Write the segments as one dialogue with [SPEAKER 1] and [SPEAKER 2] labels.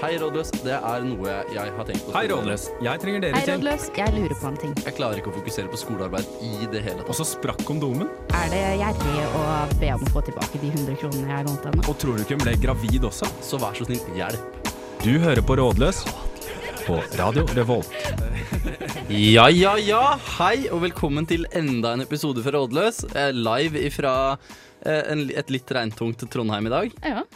[SPEAKER 1] Hei, rådløs. Det er noe jeg har tenkt på.
[SPEAKER 2] Hei, Rådløs. Jeg trenger
[SPEAKER 3] Hei,
[SPEAKER 2] deres hjelp.
[SPEAKER 3] rådløs. Jeg lurer på en ting.
[SPEAKER 1] Jeg klarer ikke å fokusere på skolearbeid i det hele
[SPEAKER 2] Og
[SPEAKER 1] tatt.
[SPEAKER 2] så sprakk kondomen.
[SPEAKER 3] Er det gjerrig å be om å få tilbake de 100 kronene jeg lånte henne?
[SPEAKER 2] Og tror du ikke hun ble gravid også?
[SPEAKER 1] Så vær så snill, hjelp.
[SPEAKER 2] Du hører på Rådløs på Radio Revolt.
[SPEAKER 1] Ja, ja, ja. Hei, og velkommen til enda en episode fra Rådløs. Eh, Live ifra eh, en, et litt regntungt Trondheim i dag.
[SPEAKER 4] Ja.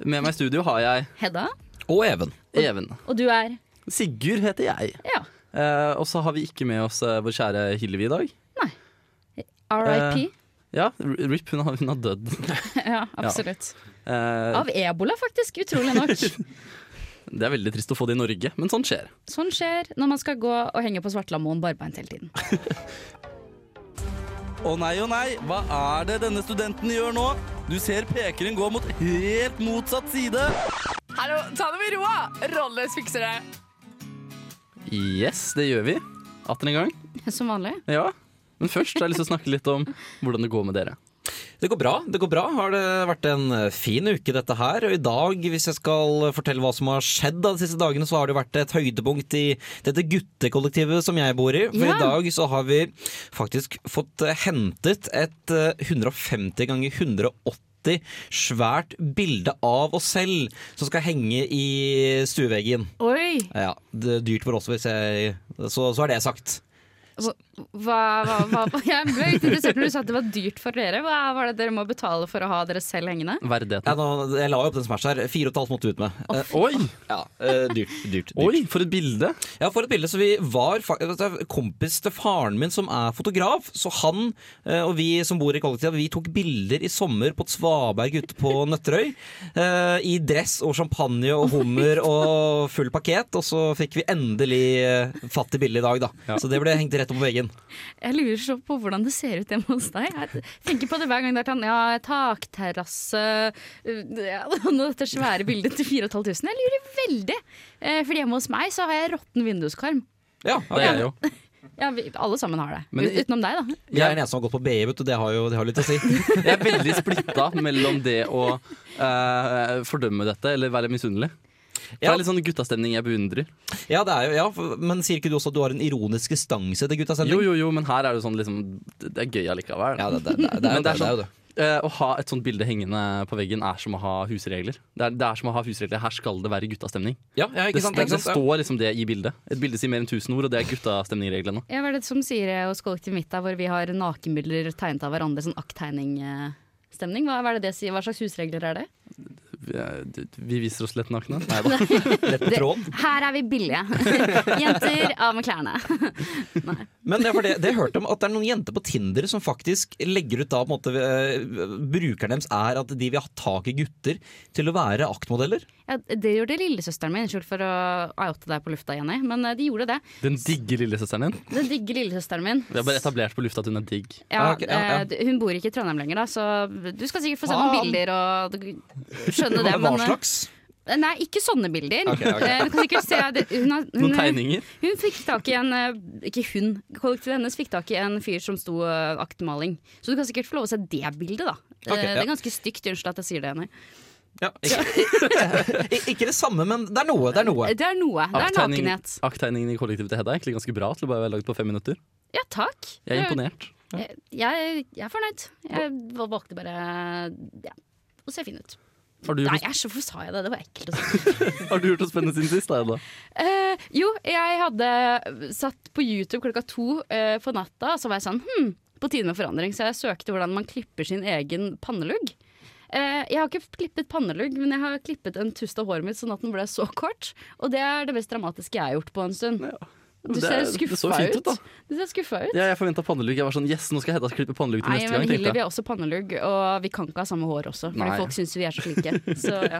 [SPEAKER 1] Med meg i studio har jeg
[SPEAKER 4] Hedda.
[SPEAKER 2] Og Even.
[SPEAKER 1] Even.
[SPEAKER 4] Og du er
[SPEAKER 1] Sigurd heter jeg.
[SPEAKER 4] Ja.
[SPEAKER 1] Eh, og så har vi ikke med oss eh, vår kjære Hillevi i dag.
[SPEAKER 4] RIP.
[SPEAKER 3] Eh,
[SPEAKER 1] Ja, R- RIP, hun har, hun har dødd.
[SPEAKER 4] ja, absolutt.
[SPEAKER 1] Eh,
[SPEAKER 4] Av ebola, faktisk. Utrolig nok.
[SPEAKER 1] det er veldig trist å få det i Norge, men sånn skjer.
[SPEAKER 4] Sånn skjer når man skal gå og henge på Svartlamoen barbeint hele tiden.
[SPEAKER 1] Å nei, å nei, hva er det denne studenten gjør nå? Du ser pekeren gå mot helt motsatt side.
[SPEAKER 5] Hallo, ta det med ro! Rolles fikser det.
[SPEAKER 1] Yes, det gjør vi. Atter en gang.
[SPEAKER 4] Som vanlig.
[SPEAKER 1] Ja. Men først har jeg lyst til å snakke litt om hvordan det går med dere.
[SPEAKER 6] Det går bra. det går bra. Har det vært en eh, fin uke, dette her. Og i dag, hvis jeg skal fortelle hva som har skjedd da de siste dagene, så har det vært et høydepunkt i dette guttekollektivet som jeg bor i. For
[SPEAKER 4] Ja.
[SPEAKER 6] i dag så har vi faktisk fått eh, hentet et eh, 150 ganger 180 svært bilde av oss selv som skal henge i stueveggen.
[SPEAKER 4] Oi!
[SPEAKER 6] Ja, det er dyrt for oss hvis jeg Så, så er det sagt.
[SPEAKER 4] Hva, hva, hva, hva? Jeg ble litt interessert når du sa at det var dyrt for dere. Hva var det dere må betale for å ha dere selv hengende?
[SPEAKER 6] Ja,
[SPEAKER 1] Verdigheten.
[SPEAKER 6] nå, jeg la jo opp den smash her. Fire og et halvt måtte ut med. Eh,
[SPEAKER 1] Oi,
[SPEAKER 6] ja, eh, dyrt, dyrt, dyrt.
[SPEAKER 1] oi, for et bilde.
[SPEAKER 6] Ja, for et bilde, så vi var fa- altså, det er kompis til faren min som er fotograf, så han eh, og vi som bor i kollektivet, vi tok bilder i sommer på et svaberg ute på Nøtterøy, eh, i dress og champagne og hummer og full pakket, og så fikk vi endelig eh, fatt i bildet i dag da.
[SPEAKER 1] Ja.
[SPEAKER 6] Så det ble hengt rett opp på veggen.
[SPEAKER 4] Jeg lurer så på hvordan det ser ut hjemme hos deg. Jeg tenker på det hver gang det er sånn ja, takterrasse eh, ja, og Dette svære bildet til 4500. Jeg lurer veldig. Eh, Fordi hjemme hos meg så har jeg råtten vinduskarm.
[SPEAKER 6] Ja,
[SPEAKER 1] Det er jeg jo.
[SPEAKER 4] Ja, vi, alle sammen har det.
[SPEAKER 1] Men
[SPEAKER 4] Ut-
[SPEAKER 1] i-
[SPEAKER 4] Utenom deg, da.
[SPEAKER 6] Jeg er den eneste som har gått på BI, vet du, det har jo det har litt å si.
[SPEAKER 1] Jeg er veldig splitta mellom det å eh, fordømme dette eller være misunnelig. For Det
[SPEAKER 6] Ja.
[SPEAKER 1] er litt sånn guttastemning jeg beundrer.
[SPEAKER 6] Ja, det er jo, ja, for- men sier ikke du også at du har en ironisk distanse til gutta
[SPEAKER 1] Jo,
[SPEAKER 6] sending?
[SPEAKER 1] jo, jo, men her er det sånn liksom Det er gøy allikevel.
[SPEAKER 6] Ja, det, det, det, det, er,
[SPEAKER 1] Men
[SPEAKER 6] jo det, det er jo det.
[SPEAKER 1] Eh, å ha et sånt bilde hengende på veggen er som å ha husregler. Det er, det er som å ha husregler. Her skal det være guttastemning.
[SPEAKER 6] Ja, ja,
[SPEAKER 1] Det,
[SPEAKER 6] ikke sant,
[SPEAKER 1] det,
[SPEAKER 6] ikke sant? Ja.
[SPEAKER 1] står liksom det i bildet. Et bilde sier mer enn 1000 ord, og det er guttastemningreglene.
[SPEAKER 4] Ja, Hva er det som sier eh, hos kollektivet mitt, da, hvor vi har nakenbilder tegnet av hverandre? Sånn akttegning-stemning. Hva, hva er det det sier? Hva slags husregler er det?
[SPEAKER 1] Vi, eh, d- vi viser oss lett nakne. Nei da.
[SPEAKER 6] Lett tråd.
[SPEAKER 4] Her er vi billige. Jenter, av med klærne.
[SPEAKER 6] Men det, er for det, det hørte jeg om at det er noen jenter på Tinder som faktisk legger ut da på en måte eh, Brukeren deres er at de vil ha tak i gutter til å være aktmodeller.
[SPEAKER 4] Ja, det gjorde lillesøsteren min. Unnskyld for å oute deg på lufta, Jenny, men eh, de gjorde det.
[SPEAKER 1] Den digge lillesøsteren din.
[SPEAKER 4] Den digge lillesøsteren min.
[SPEAKER 1] Vi har bare etablert på lufta at hun er digg.
[SPEAKER 4] Ja,
[SPEAKER 6] Ah, ok, ja, ja.
[SPEAKER 4] eh, Hun bor ikke i Trondheim lenger, da, så du skal sikkert få se noen
[SPEAKER 6] Faen.
[SPEAKER 4] bilder og du- skjønne det.
[SPEAKER 6] Hva
[SPEAKER 4] Men, eh,
[SPEAKER 6] slags?
[SPEAKER 4] nei, ikke sånne bilder.
[SPEAKER 6] Ok, ok.
[SPEAKER 4] Eh, Du kan sikkert se det- hun, har- hun,
[SPEAKER 1] Noen tegninger.
[SPEAKER 4] Hun fikk tak i en eh, Ikke hun, kollektivet hennes fikk tak i en fyr som sto eh, aktmaling. Så du kan sikkert få lov å se det bildet, da. Eh,
[SPEAKER 6] Ok,
[SPEAKER 4] Det
[SPEAKER 6] ja.
[SPEAKER 4] er ganske stygt, unnskyld at jeg sier det, Henny.
[SPEAKER 6] Ja, ikke, ikke- ikke det samme, men det er noe. Det er noe.
[SPEAKER 4] Eh, Det er noe. Det er
[SPEAKER 1] Akttegning-
[SPEAKER 4] nakenhet.
[SPEAKER 1] Akttegningen i kollektivet til Hedda er egentlig ganske bra til å bare være lagd på fem minutter.
[SPEAKER 4] Ja, takk.
[SPEAKER 1] Jeg er imponert.
[SPEAKER 4] Jeg, jeg, jeg er fornøyd. Jeg val- valgte bare ja, å se fin ut.
[SPEAKER 1] Har du,
[SPEAKER 4] Nei,
[SPEAKER 1] gjort,
[SPEAKER 4] æsj, hvorfor sa jeg det? Det var ekkelt å si.
[SPEAKER 1] har du gjort noe spennende siden sist, da, Hedda?
[SPEAKER 4] Eh, jo, jeg hadde satt på YouTube klokka to eh, på natta, og så var jeg sånn hm, på tide med forandring. Så jeg søkte hvordan man klipper sin egen pannelugg. Eh, jeg har ikke klippet pannelugg, men jeg har klippet en tuss av håret mitt sånn at den ble så kort. Og det er det mest dramatiske jeg har gjort på en stund. Du
[SPEAKER 1] Det
[SPEAKER 4] ser
[SPEAKER 1] er- det så
[SPEAKER 4] skuffa
[SPEAKER 1] fint ut,
[SPEAKER 4] ut.
[SPEAKER 1] da.
[SPEAKER 4] Du ser skuffa ut.
[SPEAKER 1] Ja, jeg forventa pannelugg. Jeg var sånn yes, nå skal Hedda klippe pannelugg til
[SPEAKER 4] Nei,
[SPEAKER 1] neste
[SPEAKER 4] men
[SPEAKER 1] gang. tenkte
[SPEAKER 4] Hillevi
[SPEAKER 1] jeg.
[SPEAKER 4] har også pannelugg, og vi kan ikke ha samme hår også. Fordi
[SPEAKER 1] Nei.
[SPEAKER 4] folk syns vi er så like. Så ja.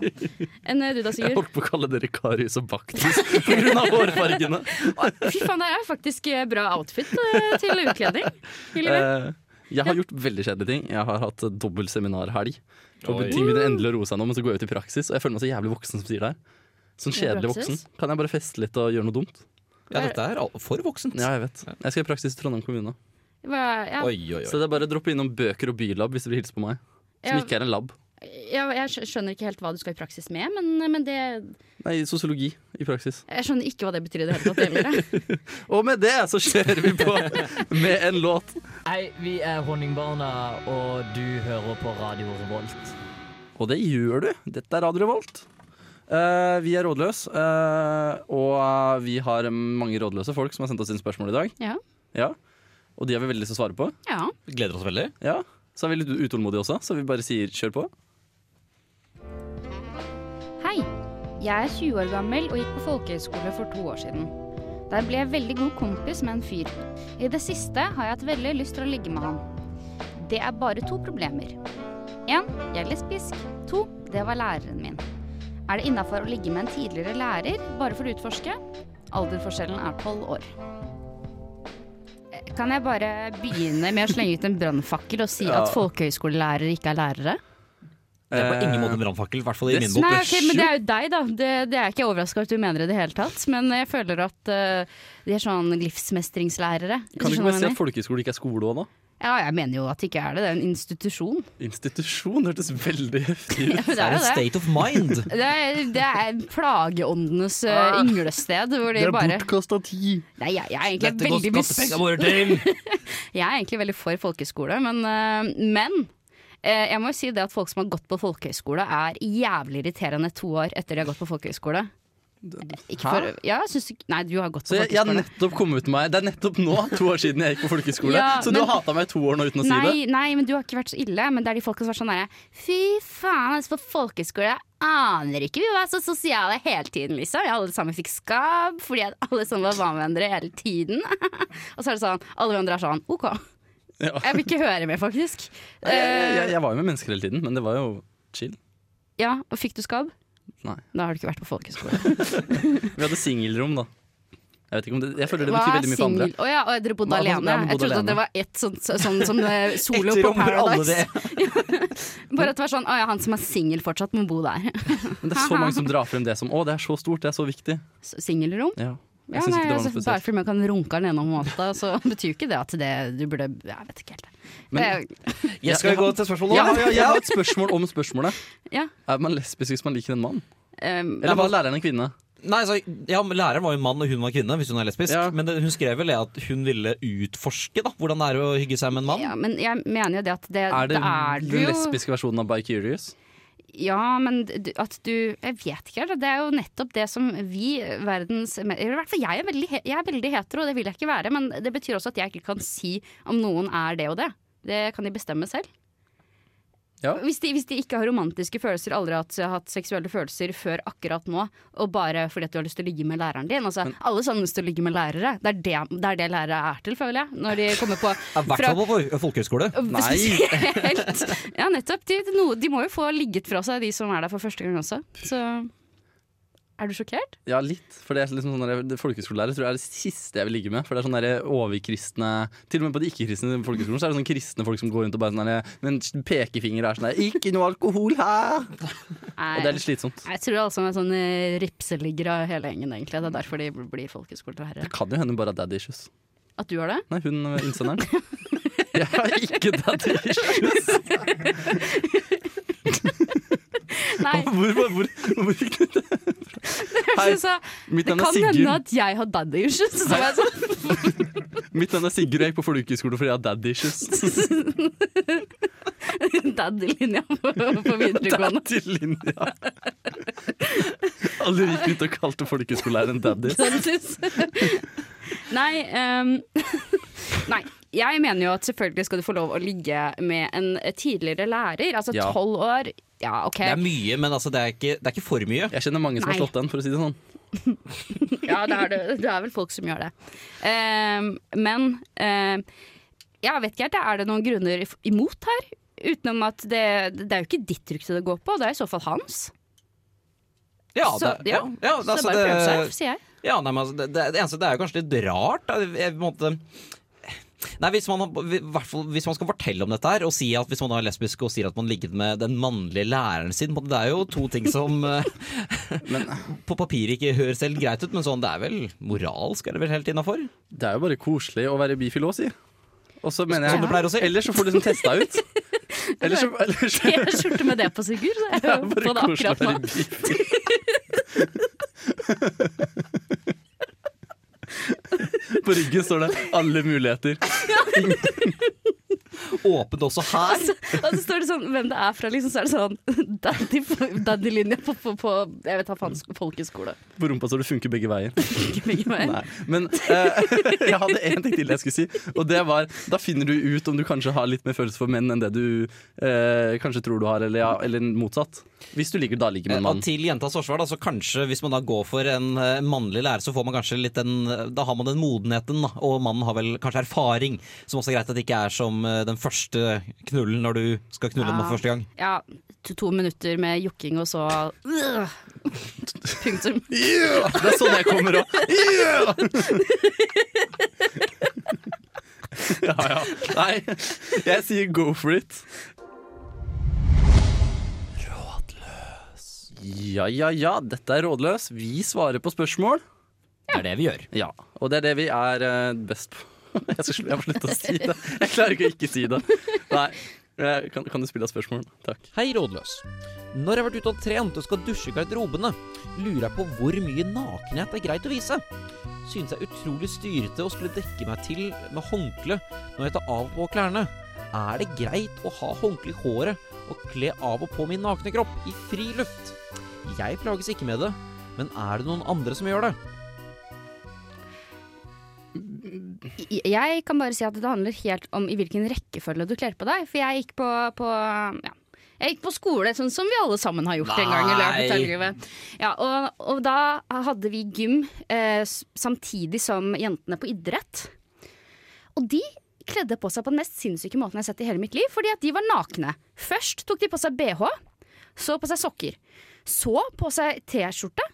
[SPEAKER 4] Enn eh, du da,
[SPEAKER 1] Jeg
[SPEAKER 4] Sigurd?
[SPEAKER 1] holdt på å kalle dere Karius og Baktus pga. hårfargene.
[SPEAKER 4] Fy faen, det er faktisk eh, bra outfit eh, til utkledning. Hillevi.
[SPEAKER 1] Eh, jeg har gjort veldig kjedelige ting. Jeg har hatt eh, dobbelt seminarhelg. Og
[SPEAKER 6] Oi.
[SPEAKER 1] ting begynner endelig å roe seg nå, men så går jeg ut i praksis, og jeg føler meg så jævlig voksen som sier det her. Sånn kjedelig voksen.
[SPEAKER 4] Praksis?
[SPEAKER 1] Kan jeg bare feste litt og gjøre noe dumt?
[SPEAKER 6] Ja,
[SPEAKER 4] Eh,
[SPEAKER 6] dette er al- for voksent.
[SPEAKER 1] Ja, jeg vet. Jeg skal i praksis i Trondheim kommune.
[SPEAKER 4] Hva- ja.
[SPEAKER 6] Oi, oi,
[SPEAKER 1] Så
[SPEAKER 6] oi.
[SPEAKER 1] det er bare å droppe innom bøker og bylab hvis dere vil hilse på meg. Som
[SPEAKER 4] Ja.
[SPEAKER 1] ikke er en lab.
[SPEAKER 4] jeg, jeg skj- skjønner ikke helt hva du skal i praksis med, men, men det,
[SPEAKER 1] Nei, sosiologi i praksis.
[SPEAKER 4] jeg skjønner ikke hva det betyr i det hele tatt. egentlig.
[SPEAKER 1] Og med det så kjører vi på med en låt.
[SPEAKER 7] Hei, vi er Honningbarna, og du hører på Radio Revolt.
[SPEAKER 1] Og det gjør du. Dette er Radio Revolt. Eh, vi er rådløse, eh, og vi har mange rådløse folk som har sendt oss inn spørsmål i dag.
[SPEAKER 4] Ja.
[SPEAKER 1] Ja. Og de har vi veldig lyst til å svare på.
[SPEAKER 4] Ja.
[SPEAKER 6] Gleder oss veldig.
[SPEAKER 1] Ja. Så er vi litt utålmodige også, så vi bare sier kjør på.
[SPEAKER 8] Hei, jeg er 20 år gammel og gikk på folkehøyskole for to år siden. Der ble jeg veldig god kompis med en fyr. I det siste har jeg hatt veldig lyst til å ligge med han. Det er bare to problemer. En, jeg er lesbisk. To, det var læreren min. Er det innafor å ligge med en tidligere lærer, bare for å utforske? Alderforskjellen er tolv år. Eh,
[SPEAKER 4] Kan jeg bare begynne med å slenge ut en brannfakkel og si
[SPEAKER 1] Ja.
[SPEAKER 4] at folkehøyskolelærere ikke er lærere?
[SPEAKER 6] Det er på ingen måte en brannfakkel, i hvert fall i
[SPEAKER 1] Eh, det-
[SPEAKER 6] min
[SPEAKER 4] Nei,
[SPEAKER 6] bok.
[SPEAKER 4] ok, men det er jo deg, da. Det, det er jeg ikke overraska over at du mener det i det hele tatt. Men jeg føler at eh, de er sånn livsmestringslærere. hvis
[SPEAKER 1] Kan du
[SPEAKER 4] skjønner
[SPEAKER 1] ikke bare
[SPEAKER 4] hva jeg
[SPEAKER 1] si
[SPEAKER 4] mener.
[SPEAKER 1] at folkehøyskole ikke er skole òg, da?
[SPEAKER 4] Ja, jeg mener jo at det ikke er det. Det er en institusjon.
[SPEAKER 1] Institusjon hørtes veldig heftig ut.
[SPEAKER 4] Det
[SPEAKER 6] Det
[SPEAKER 4] er
[SPEAKER 6] er
[SPEAKER 4] jo
[SPEAKER 6] en
[SPEAKER 4] det.
[SPEAKER 6] state of mind.
[SPEAKER 4] Det er, det er plageåndenes eh, ynglested. Hvor de bare
[SPEAKER 1] bortkasta tid.
[SPEAKER 4] Nei, jeg, jeg, er egentlig
[SPEAKER 6] Dette går
[SPEAKER 4] veldig mis...
[SPEAKER 6] skattepengene våre til!
[SPEAKER 4] jeg er egentlig veldig for folkehøyskole, men, eh, men eh, jeg må jo si det at folk som har gått på folkehøyskole, er jævlig irriterende to år etter de har gått på folkehøyskole. Eh, Ikke for, ja, jeg syns ikke- Nei, du har gått
[SPEAKER 1] Så
[SPEAKER 4] på
[SPEAKER 1] jeg, jeg har
[SPEAKER 4] folkehøyskole.
[SPEAKER 1] nettopp kommet meg Det er nettopp nå, to år siden jeg gikk på folkehøyskole.
[SPEAKER 4] Ja,
[SPEAKER 1] så du har
[SPEAKER 4] men-
[SPEAKER 1] hata meg i to år nå uten å si det?
[SPEAKER 4] Nei, nei, men du har ikke vært så ille. Men det er de folka som er sånn derre Fy faen, altså på folkeskole jeg aner ikke vi var så sosiale hele tiden, liksom. Alle sammen fikk skabb fordi at alle sammen var med hverandre hele tiden. og så er det sånn, alle hverandre er sånn OK.
[SPEAKER 1] Ja.
[SPEAKER 4] Jeg vil ikke høre mer, faktisk.
[SPEAKER 1] Nei, Jeg, jeg, jeg var jo med mennesker hele tiden, men det var jo chill.
[SPEAKER 4] Ja, og fikk du skabb?
[SPEAKER 1] Nei.
[SPEAKER 4] Da har du ikke vært på folkeskole.
[SPEAKER 1] Vi hadde singelrom, da. Jeg, vet ikke om det, jeg føler det
[SPEAKER 4] Hva
[SPEAKER 1] betyr
[SPEAKER 4] er
[SPEAKER 1] veldig mye for
[SPEAKER 4] singel?
[SPEAKER 1] andre.
[SPEAKER 4] Å ja, og dere bodde
[SPEAKER 1] Hva- hva-
[SPEAKER 4] alene?
[SPEAKER 1] ja, vi
[SPEAKER 4] Jeg
[SPEAKER 1] bodde
[SPEAKER 4] trodde at
[SPEAKER 1] alene.
[SPEAKER 4] det var ett sånn, sånn som eh, solo
[SPEAKER 6] Ett
[SPEAKER 4] på
[SPEAKER 6] rom for alle
[SPEAKER 4] Paradise.
[SPEAKER 6] det.
[SPEAKER 4] Bare at det var sånn, å ja, han som er singel fortsatt, må bo der.
[SPEAKER 1] Men det er så mange som drar frem det som Å, det er så stort, det er så viktig.
[SPEAKER 4] Så Singelrom?
[SPEAKER 1] Ja.
[SPEAKER 4] Ja,
[SPEAKER 1] Jeg syns
[SPEAKER 4] nei,
[SPEAKER 1] ikke det var noe
[SPEAKER 4] altså, bare
[SPEAKER 1] spesielt.
[SPEAKER 4] fordi man kan runke alene om måneden, så betyr jo ikke det at det, du burde Jeg vet ikke helt. Eh,
[SPEAKER 1] Men-
[SPEAKER 4] Jeg-
[SPEAKER 6] Jeg skal gå til spørsmålet
[SPEAKER 1] Ja,
[SPEAKER 6] nå.
[SPEAKER 1] ja, jeg har et spørsmål om spørsmålet.
[SPEAKER 4] Ja.
[SPEAKER 1] Er man lesbisk hvis man liker en mann?
[SPEAKER 4] ehm,
[SPEAKER 1] Eller var læreren en kvinne?
[SPEAKER 6] Nei, så, ja, men Læreren var jo mann, og hun var kvinne, hvis hun er lesbisk.
[SPEAKER 1] Ja.
[SPEAKER 6] Men det, hun skrev vel det at hun ville utforske da, hvordan det er å hygge seg med en mann.
[SPEAKER 4] ja, men jeg mener jo det at det,
[SPEAKER 1] Er det
[SPEAKER 4] da er du
[SPEAKER 1] den
[SPEAKER 4] jo
[SPEAKER 1] lesbiske versjonen av By Curious?
[SPEAKER 4] Ja, men du, at du Jeg vet ikke, helt, det er jo nettopp det som vi, verdens Eller i hvert fall jeg er veldig, he- jeg er veldig hetero, det vil jeg ikke være, men det betyr også at jeg ikke kan si om noen er det og det. Det kan de bestemme selv.
[SPEAKER 1] Ja.
[SPEAKER 4] Hvis, de, hvis de ikke har romantiske følelser, aldri har hatt, hatt seksuelle følelser før akkurat nå, og bare fordi at du har lyst til å ligge med læreren din altså, Alle sammen har lyst til å ligge med lærere. Det er det, det er det lærere er til, føler jeg. Når de kommer på
[SPEAKER 6] I hvert
[SPEAKER 4] fra-
[SPEAKER 6] fall på fol- folkehøyskole.
[SPEAKER 1] Nei.
[SPEAKER 4] Spesielt. Ja, nettopp. De, no, de må jo få ligget fra seg, de som er der for første gang også. Så er du sjokkert?
[SPEAKER 1] Ja, litt. For det er liksom sånn der, det folkehøyskolelærer tror jeg er det siste jeg vil ligge med. For det er sånne der overkristne Til og med på de ikke-kristne folkehøyskolene Så er det sånne kristne folk som går rundt og bare sånn der, med en pekefinger og er sånn der 'Ikke noe alkohol her!' Og det er
[SPEAKER 4] Nei.
[SPEAKER 1] litt slitsomt.
[SPEAKER 4] Jeg tror alle sammen er sånn eh, ripseliggere av hele gjengen, egentlig. Det er derfor de blir folkehøyskolelærere.
[SPEAKER 1] Det kan jo hende hun bare har daddy issues.
[SPEAKER 4] At du har det?
[SPEAKER 1] Nei, hun eh, innsenderen. Jeg har ikke daddy issues!
[SPEAKER 4] Nei.
[SPEAKER 1] Hvor, hvor, hvor, hvor fikk du det? Hei,
[SPEAKER 4] Så, sa,
[SPEAKER 1] mitt
[SPEAKER 4] det
[SPEAKER 1] navn er
[SPEAKER 4] kan hende
[SPEAKER 1] Sigurd.
[SPEAKER 4] at jeg har daddy issues. Så var jeg sånn,
[SPEAKER 1] Mitt navn er Sigurd, og jeg gikk på folkehøyskole fordi jeg har daddy issues.
[SPEAKER 4] sånn, Daddy-linja på, på videregående.
[SPEAKER 1] Til linja. Alle gikk rundt og kalte folkehøyskolelæreren daddy.
[SPEAKER 4] Konsensus. Sånn Nei, ehm, nei. Jeg mener jo at selvfølgelig skal du få lov å ligge med en tidligere lærer. Altså
[SPEAKER 1] Ja.
[SPEAKER 4] tolv år. Ja, OK.
[SPEAKER 6] Det er mye, men altså, det, er ikke, det er ikke for mye.
[SPEAKER 1] Jeg kjenner mange som har
[SPEAKER 4] Nei.
[SPEAKER 1] slått den, for å si det sånn.
[SPEAKER 4] Ja, det er, det, det er vel folk som gjør det. Ehm, men ehm, jeg vet ikke helt. Er det noen grunner if- imot her? Utenom at det, det er jo ikke ditt rykte det går på, det er i så fall hans.
[SPEAKER 6] Ja,
[SPEAKER 4] Så-
[SPEAKER 6] det, ja,
[SPEAKER 4] ja. Så det
[SPEAKER 6] ja, altså,
[SPEAKER 4] er bare å prøve seg,
[SPEAKER 6] det,
[SPEAKER 4] sier jeg.
[SPEAKER 6] ja, nei, men altså, det, det, det eneste det er jo kanskje litt rart. Da. Jeg, på en måte, Nei, hvis man, har- i hvert fall hvis man skal fortelle om dette her og si at hvis man er lesbisk og sier at man ligget med den mannlige læreren sin på en måte, Det er jo to ting som eh, på papiret ikke høres helt greit ut, men sånn, det er vel moralsk er det vel helt innafor?
[SPEAKER 1] Det er jo bare koselig å være bifil òg, si. Og så mener jeg
[SPEAKER 6] Som du pleier å si.
[SPEAKER 1] Ellers så får du liksom testa ut. Ellers så ellers,
[SPEAKER 9] T-skjorte med det på, Sigurd. Så jeg
[SPEAKER 1] Det er
[SPEAKER 9] hører på
[SPEAKER 1] bare
[SPEAKER 9] det
[SPEAKER 1] koselig å
[SPEAKER 9] akkurat
[SPEAKER 1] være
[SPEAKER 9] nå.
[SPEAKER 1] biff. På ryggen står det 'alle muligheter'.
[SPEAKER 6] Åpent også her.
[SPEAKER 9] Og så står det sånn hvem det er fra, liksom. Så er det sånn daddy, daddy-linje på, på, på Jeg vet da faen folkeskole.
[SPEAKER 1] På rumpa står det 'funker begge veier'.
[SPEAKER 9] Ikke begge veier.
[SPEAKER 1] Nei. Men eh, jeg hadde én ting til jeg skulle si. Og det var Da finner du ut om du kanskje har litt mer følelse for menn enn det du eh, kanskje tror du har, eller, ja, eller motsatt. Hvis du liker da ligger med en
[SPEAKER 6] Og
[SPEAKER 1] mann.
[SPEAKER 6] til Eh, jentas forsvar, da, så kanskje hvis man da går for en eh, mannlig lærer, så får man kanskje litt den eh, Da har man den modenheten, da, og mannen har vel kanskje erfaring, som også er greit at det ikke er som eh, den første knullen når du skal knulle den
[SPEAKER 9] Ja.
[SPEAKER 6] for første gang.
[SPEAKER 9] Ja, to, to minutter med jokking, og så øh, Punktum.
[SPEAKER 1] Yeah! Det er sånn jeg kommer opp. Yeah! ja, ja. Nei, jeg sier go for it. Rådløs. Ja, ja, ja. Dette er Rådløs. Vi svarer på spørsmål.
[SPEAKER 6] Det er det vi gjør.
[SPEAKER 1] Ja, og det er det vi er eh, best på. Jeg, skal, slu- jeg må slutte å si det. Jeg klarer ikke å ikke si det. Nei. Eh, Kan, kan du spille av spørsmål? Takk.
[SPEAKER 10] Hei, rådløs. Når jeg har vært ute og trent og skal dusje i garderobene, lurer jeg på hvor mye nakenhet er greit å vise. Synes jeg er utrolig styrete å skulle dekke meg til med håndkle når jeg tar av og på klærne. Er det greit å ha håndkle i håret og kle av og på min nakne kropp i fri luft? Jeg plages ikke med det, men er det noen andre som gjør det?
[SPEAKER 4] Jeg kan bare si at det handler helt om i hvilken rekkefølge du kler på deg. For jeg gikk på, på ja. Jeg gikk på skole, sånn som vi alle sammen har gjort en gang. i løpet av
[SPEAKER 6] Nei.
[SPEAKER 4] livet. Ja, og, og da hadde vi gym eh, s- samtidig som jentene på idrett. Og de kledde på seg på den mest sinnssyke måten jeg har sett i hele mitt liv, fordi at de var nakne. Først tok de på seg bh, så på seg sokker. Så på seg T-skjorte,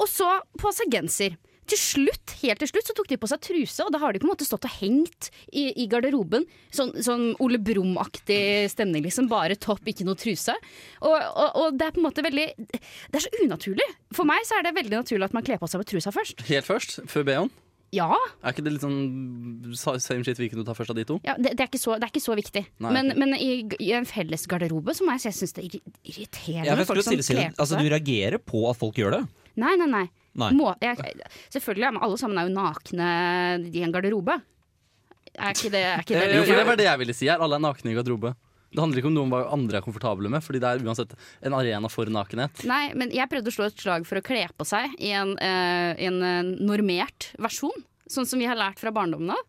[SPEAKER 4] og så på seg genser. Til slutt, helt til slutt så tok de på seg truse, og da har de på en måte stått og hengt i, i garderoben. Sånn, sånn Ole Brumm-aktig stemning, liksom. Bare topp, ikke noe truse. Og, og, og det er på en måte veldig Det er så unaturlig. For meg så er det veldig naturlig at man kler på seg med trusa først.
[SPEAKER 1] Helt først, før BH-en.
[SPEAKER 4] Ja,
[SPEAKER 1] Er ikke det litt sånn sa- same shit hvilken du tar først av de to?
[SPEAKER 4] ja det, det, er ikke så, det er ikke så viktig.
[SPEAKER 1] Nei,
[SPEAKER 4] men
[SPEAKER 1] ok.
[SPEAKER 4] men i, i en felles garderobe så må jeg si jeg syns det er irri- irriterende
[SPEAKER 6] Jeg
[SPEAKER 4] med folk
[SPEAKER 6] skulle
[SPEAKER 4] som
[SPEAKER 6] stille seg
[SPEAKER 4] kler på
[SPEAKER 6] Altså,
[SPEAKER 4] seg.
[SPEAKER 6] du reagerer på at folk gjør det.
[SPEAKER 4] Nei, nei, nei.
[SPEAKER 6] Nei.
[SPEAKER 4] Må, jeg, selvfølgelig, men alle sammen er jo nakne i en garderobe. Er ikke det, er ikke det
[SPEAKER 1] Eh, Jo, for det var det jeg ville si her. Alle er nakne i garderobe. Det handler ikke om noe hva andre er komfortable med, fordi det er uansett en arena for nakenhet.
[SPEAKER 4] Nei, men jeg prøvde å slå et slag for å kle på seg i en, eh, en eh, normert versjon. Sånn som vi har lært fra barndommen av.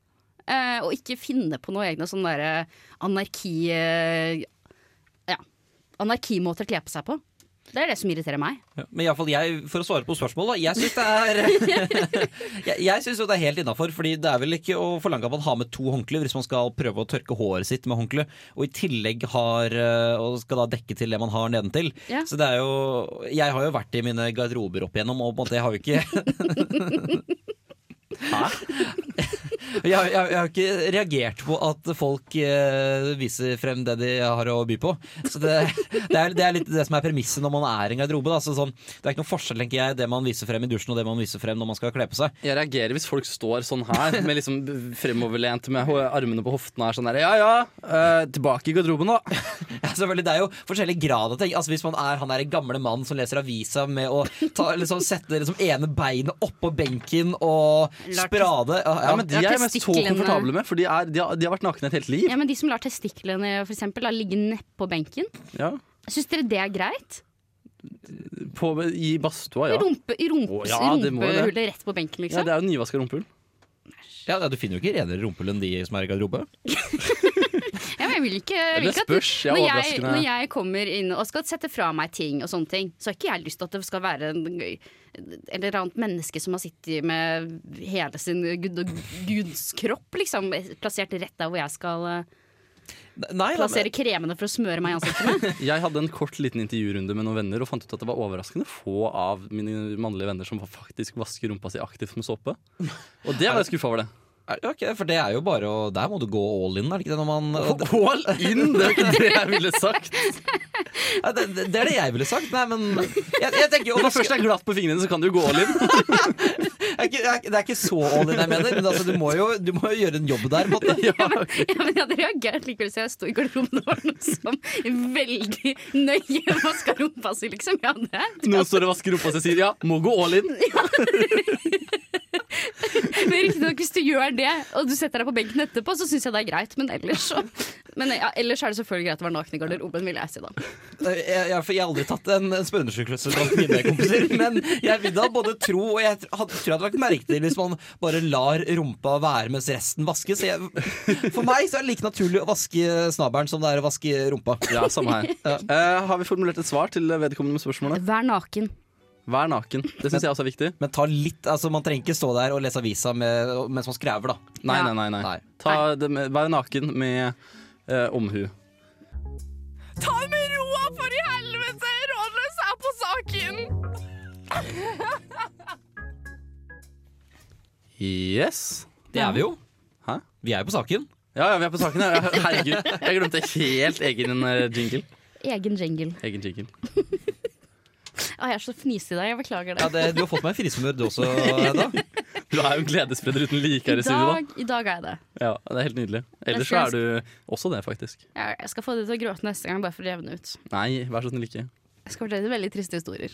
[SPEAKER 4] Eh, og ikke finne på noe egne sånne derre anarki... eh, ja. Anarkimåter å kle på seg på. Det er det som irriterer meg.
[SPEAKER 6] Men i alle fall jeg, for å svare på spørsmålet, da, jeg syns det er Jeg, jeg synes jo det er helt innafor, Fordi det er vel ikke å forlange at man har med to håndklær hvis man skal prøve å tørke håret sitt med håndkle, og i tillegg har eh, Og skal da dekke til det man har nedentil.
[SPEAKER 4] Ja.
[SPEAKER 6] Så det er jo Jeg har jo vært i mine garderober opp igjennom, og på en måte, jeg har jo ikke jeg, har- jeg, har- jeg har ikke reagert på at folk eh, viser frem det de har å by på. Så det, det, er, det er litt det som er premisset når man er i en garderobe. Da. Så sånn, det er ikke noen forskjell, tenker jeg, det man viser frem i dusjen og det man viser frem når man skal kle på seg.
[SPEAKER 1] Jeg reagerer hvis folk står sånn her, med liksom fremoverlent med ho- armene på hoftene her sånn her. Ja ja, eh, tilbake i garderoben da.
[SPEAKER 6] Ja, selvfølgelig, Det er jo forskjellig grad av ting. Altså, hvis man er han der gamle mannen som leser avisa med å ta, liksom, sette liksom, ene beinet oppå benken og
[SPEAKER 4] Lart-
[SPEAKER 6] sprade ja,
[SPEAKER 1] Ja,
[SPEAKER 6] ja.
[SPEAKER 1] men de
[SPEAKER 4] Ja,
[SPEAKER 1] er jeg mest så
[SPEAKER 4] testiklene.
[SPEAKER 1] komfortable med, for de, er, de, har, de har vært nakne et helt liv.
[SPEAKER 4] Ja, men De som lar testiklene for eksempel, da, ligge nedpå benken,
[SPEAKER 1] Ja.
[SPEAKER 4] syns dere det er greit?
[SPEAKER 1] På, I badstua, ja.
[SPEAKER 4] Rumpe, i rumpe,
[SPEAKER 1] Å, ja, det må jo det.
[SPEAKER 4] rumpehullet rett på benken,
[SPEAKER 1] Ja,
[SPEAKER 4] liksom?
[SPEAKER 1] det er jo nyvaska rumpehull.
[SPEAKER 6] Ja, ja, Du finner jo ikke renere rumpehull enn de som er i garderobe.
[SPEAKER 4] Ja, men jeg vil ikke, jeg vil
[SPEAKER 1] Det
[SPEAKER 4] ikke at
[SPEAKER 1] spørs. Jeg er
[SPEAKER 4] når, jeg,
[SPEAKER 1] overraskende
[SPEAKER 4] når jeg kommer inn og skal sette fra meg ting, og sånne ting så har ikke jeg lyst til at det skal være en, eller annet menneske som har sittet med hele sin gud, guds kropp liksom, plassert rett der hvor jeg skal eh,
[SPEAKER 6] Nei, nei, men-
[SPEAKER 4] plassere kremene for å smøre meg i ansiktet med.
[SPEAKER 1] Jeg hadde en kort liten intervjurunde med noen venner og fant ut at det var overraskende få av mine mannlige venner som faktisk vasker rumpa si aktivt med såpe. Og det var jeg skuffa over, det.
[SPEAKER 6] Er- Ok, for det er jo bare å Der må du gå all in, er det ikke det? Når man, og det,
[SPEAKER 1] All in! Det er jo ikke det jeg ville sagt.
[SPEAKER 6] Nei, det, det er det jeg ville sagt. Nei, men jeg, jeg tenker jo
[SPEAKER 1] Når det først er glatt på fingrene, så kan du jo gå all in.
[SPEAKER 6] er ikke, det er ikke- det er ikke så all in jeg mener, men altså, du, må jo, du må jo gjøre en jobb der. på en måte.
[SPEAKER 4] Ja, men, ja, men jeg hadde reagert likevel, så jeg sto i garderoben og var noe som veldig nøye vaska rumpa si, liksom. Ja, det.
[SPEAKER 1] Noen står og vasker rumpa og sier ja, må gå all in.
[SPEAKER 4] Men riktignok, hvis du gjør det, og du setter deg på benken etterpå, så syns jeg det er greit. Men ellers så Men ja, ellers er det selvfølgelig greit å være naken i garderoben, vil jeg si da.
[SPEAKER 6] Jeg, jeg, Eh, for jeg har aldri tatt en, en spørreundersøkelse blant mine kompiser, men jeg vil da både tro og jeg tr- hadde- tror jeg hadde lagt merke til hvis man bare lar rumpa være mens resten vaskes. Jeg, for meg så er det like naturlig å vaske snabelen som det er å vaske rumpa.
[SPEAKER 1] Ja, samme her. Eh, har vi formulert et svar til vedkommende med spørsmålet?
[SPEAKER 4] Vær naken.
[SPEAKER 1] Vær naken. Det syns jeg også er viktig.
[SPEAKER 6] Men ta litt, altså man trenger ikke stå der og lese avisa med, mens man skrever, da.
[SPEAKER 1] Nei,
[SPEAKER 4] Ja.
[SPEAKER 1] nei, nei. nei.
[SPEAKER 6] Nei.
[SPEAKER 1] Ta det med, vær naken med eh, omhu.
[SPEAKER 5] Ta det med roa, for i helvete! Rådløs er på saken!
[SPEAKER 1] Yes.
[SPEAKER 6] Det er vi jo.
[SPEAKER 1] Hæ?
[SPEAKER 6] Vi er jo på saken.
[SPEAKER 1] Ja, ja, vi er på saken her. Herregud, jeg glemte helt egen eh, jingle.
[SPEAKER 4] Egen jingle.
[SPEAKER 1] Egen jingle.
[SPEAKER 4] Ah, jeg er så fnisig i dag, jeg beklager
[SPEAKER 6] Ja,
[SPEAKER 4] det.
[SPEAKER 6] det, du har fått meg frismør du også, Hedda.
[SPEAKER 1] Du er jo en gledesspreder uten like her
[SPEAKER 4] I
[SPEAKER 1] i studio.
[SPEAKER 4] dag, I dag er jeg det.
[SPEAKER 1] Da. Ja, det er helt nydelig. Ellers så
[SPEAKER 4] Jeg
[SPEAKER 1] er du også det, faktisk.
[SPEAKER 4] Jeg jeg skal få det til å gråte neste gang, bare for å jevne ut.
[SPEAKER 1] Nei, vær så snill ikke.
[SPEAKER 4] Jeg skal fortelle veldig triste historier.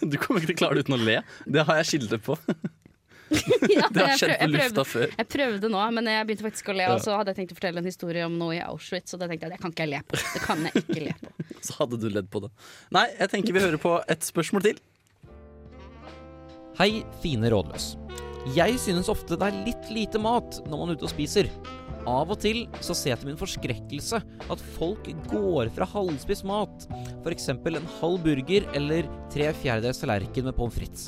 [SPEAKER 1] Du kommer ikke til å klare det uten å le. Det har jeg skilde på.
[SPEAKER 4] Ja,
[SPEAKER 1] Det har
[SPEAKER 4] jeg
[SPEAKER 1] skjedd på
[SPEAKER 4] prøv- jeg prøvde-
[SPEAKER 1] lufta før.
[SPEAKER 4] Jeg prøvde nå, men jeg begynte faktisk å le. Og så hadde jeg tenkt å fortelle en historie om noe i Auschwitz, og da tenkte jeg at jeg kan ikke jeg le på. Det kan jeg ikke le på.
[SPEAKER 1] Så hadde du ledd på det. Nei, jeg tenker vi hører på et spørsmål til.
[SPEAKER 11] Hei, fine rådløs. Jeg synes ofte det er litt lite mat når man er ute og spiser. Av og til så ser jeg til min forskrekkelse at folk går fra halvspist mat, f.eks. en halv burger eller tre fjerdedels tallerken med pommes frites.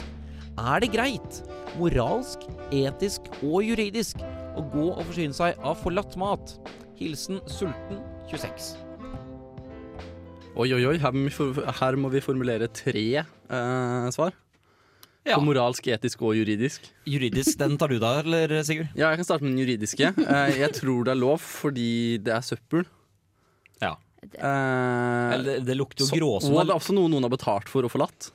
[SPEAKER 11] Er det greit, moralsk, etisk og juridisk, å gå og forsyne seg av forlatt mat? Hilsen sulten 26.
[SPEAKER 1] Oi, oi, oi, her må vi, for- her må vi formulere tre eh, svar.
[SPEAKER 6] Ja.
[SPEAKER 1] På moralsk, etisk og juridisk.
[SPEAKER 6] Juridisk, den tar du da, eller Sigurd?
[SPEAKER 1] Ja, jeg kan starte med den juridiske. Eh, jeg tror det er lov fordi det er søppel.
[SPEAKER 6] Ja.
[SPEAKER 1] Eh,
[SPEAKER 6] Eller, det lukter
[SPEAKER 1] så-
[SPEAKER 6] jo
[SPEAKER 1] Og det
[SPEAKER 6] gråsone.
[SPEAKER 1] er også noe noen har betalt for og forlatt.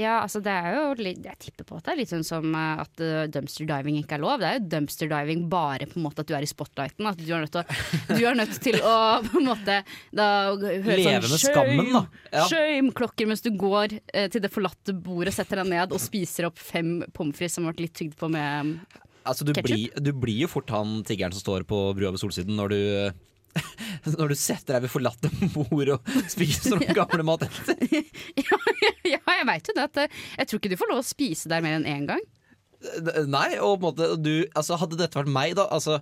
[SPEAKER 4] Ja, altså det er jo litt, Jeg tipper på at det er litt sånn som eh, at eh, dumpster diving ikke er lov. Det er jo dumpster diving bare på en måte at du er i spotlighten. At du er nødt til å, du er nødt til å på en måte da, høre sånn
[SPEAKER 6] Leve med skammen, da. Ja.
[SPEAKER 4] Shame-klokker mens du går eh, til det forlatte bordet, setter deg ned og spiser opp fem pommes frites som har vært litt tygd på med
[SPEAKER 6] Altså, du,
[SPEAKER 4] Ketchup?
[SPEAKER 6] blir, du blir jo fort han tiggeren som står på brua ved Solsiden når du når du setter deg ved forlatte bord og spiser noen gamle mat etter.
[SPEAKER 4] Ja, jeg veit jo det. At, eh, jeg tror ikke du får lov å spise der mer enn én gang.
[SPEAKER 6] Nei, og på en måte du, altså, Hadde dette vært meg, da altså,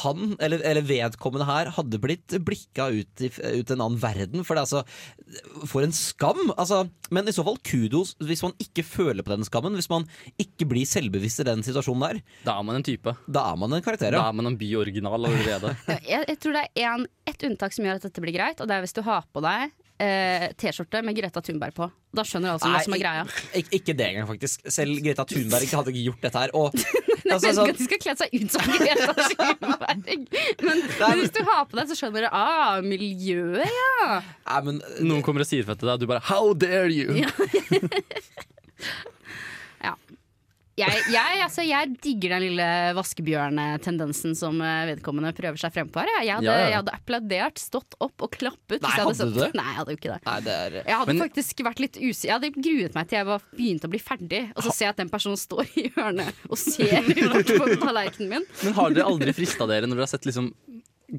[SPEAKER 6] Han, eller, eller vedkommende her, hadde blitt blikka ut i ut en annen verden. For det, er altså, for en skam! Altså, men i så fall kudos hvis man ikke føler på den skammen. Hvis man ikke blir selvbevisst i den situasjonen der.
[SPEAKER 1] Da er man en type.
[SPEAKER 6] Da er man en karakter,
[SPEAKER 1] Da
[SPEAKER 6] ja.
[SPEAKER 1] er man en byoriginal allerede.
[SPEAKER 4] Jeg, jeg tror det er en, ett unntak som gjør at dette blir greit, og det er hvis du har på deg eh, T-skjorte med Greta Thunberg på. Da skjønner alle som hva som er greia.
[SPEAKER 6] Ik ikke det engang, faktisk. Selv Greta Thunberg hadde ikke gjort dette her. Og, altså,
[SPEAKER 4] Jeg
[SPEAKER 6] sånn-
[SPEAKER 4] ønsker at de skal kle seg ut som Greta Thunberg. Men, men hvis du har på deg, så skjønner du ah, miljøet, ja.
[SPEAKER 6] Nei, men
[SPEAKER 1] Noen kommer og sier fett til deg, og du bare 'how dare you'?
[SPEAKER 4] Ja. Jeg, jeg, altså, jeg digger den lille vaskebjørnetendensen som eh, vedkommende prøver seg frem på her. Jeg, jeg, hadde,
[SPEAKER 1] Ja, ja.
[SPEAKER 4] jeg hadde applaudert, stått opp og klappet. hvis
[SPEAKER 6] Nei,
[SPEAKER 4] jeg
[SPEAKER 6] hadde du
[SPEAKER 4] sett-
[SPEAKER 6] det?
[SPEAKER 4] Nei, jeg hadde jo ikke det.
[SPEAKER 6] Nei, det er
[SPEAKER 4] Jeg hadde
[SPEAKER 1] Men-
[SPEAKER 4] faktisk vært litt usikker. Jeg hadde gruet meg til jeg var, begynte å bli ferdig, og så ser jeg at den personen står i hjørnet og ser rart på tallerkenen min.
[SPEAKER 1] Men har dere aldri frista dere når dere har sett liksom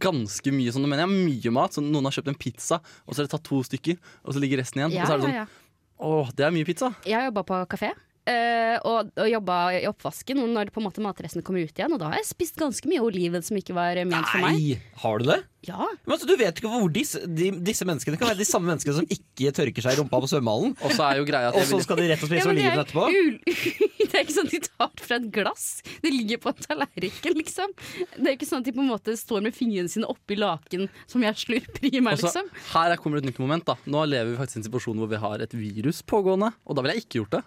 [SPEAKER 1] ganske mye sånn, nå mener jeg mye mat, sånn noen har kjøpt en pizza, og så har dere tatt to stykker, og så ligger resten igjen, og
[SPEAKER 4] Ja,
[SPEAKER 1] så er det sånn
[SPEAKER 4] ja, ja.
[SPEAKER 1] åh, det er mye pizza.
[SPEAKER 4] Jeg har jobba på kafé. eh, og, og jobba i oppvasken og når på en måte matrestene kommer ut igjen. Og da har jeg spist ganske mye oliven som ikke var eh, ment for meg.
[SPEAKER 6] Nei! Har du det?
[SPEAKER 4] Ja,
[SPEAKER 6] Men altså, Du vet ikke hvor disse, de, disse menneskene kan være de samme menneskene som ikke tørker seg i rumpa på svømmehallen.
[SPEAKER 1] Og så er jo greia at
[SPEAKER 6] Og
[SPEAKER 1] jeg
[SPEAKER 6] så
[SPEAKER 1] vil,
[SPEAKER 6] skal de rett og
[SPEAKER 4] ja
[SPEAKER 6] slett spise
[SPEAKER 4] men det
[SPEAKER 6] oliven
[SPEAKER 4] er,
[SPEAKER 6] etterpå.
[SPEAKER 4] ul det er ikke sånn at de tar det fra et glass. Det ligger på en tallerken, liksom. Det er ikke sånn at de på en måte står med fingrene sine oppi laken som jeg slurper i meg,
[SPEAKER 1] og så,
[SPEAKER 4] liksom.
[SPEAKER 1] her er- kommer et nytt moment, da. Nå lever vi faktisk i en situasjon hvor vi har et virus pågående, og da ville jeg ikke gjort det.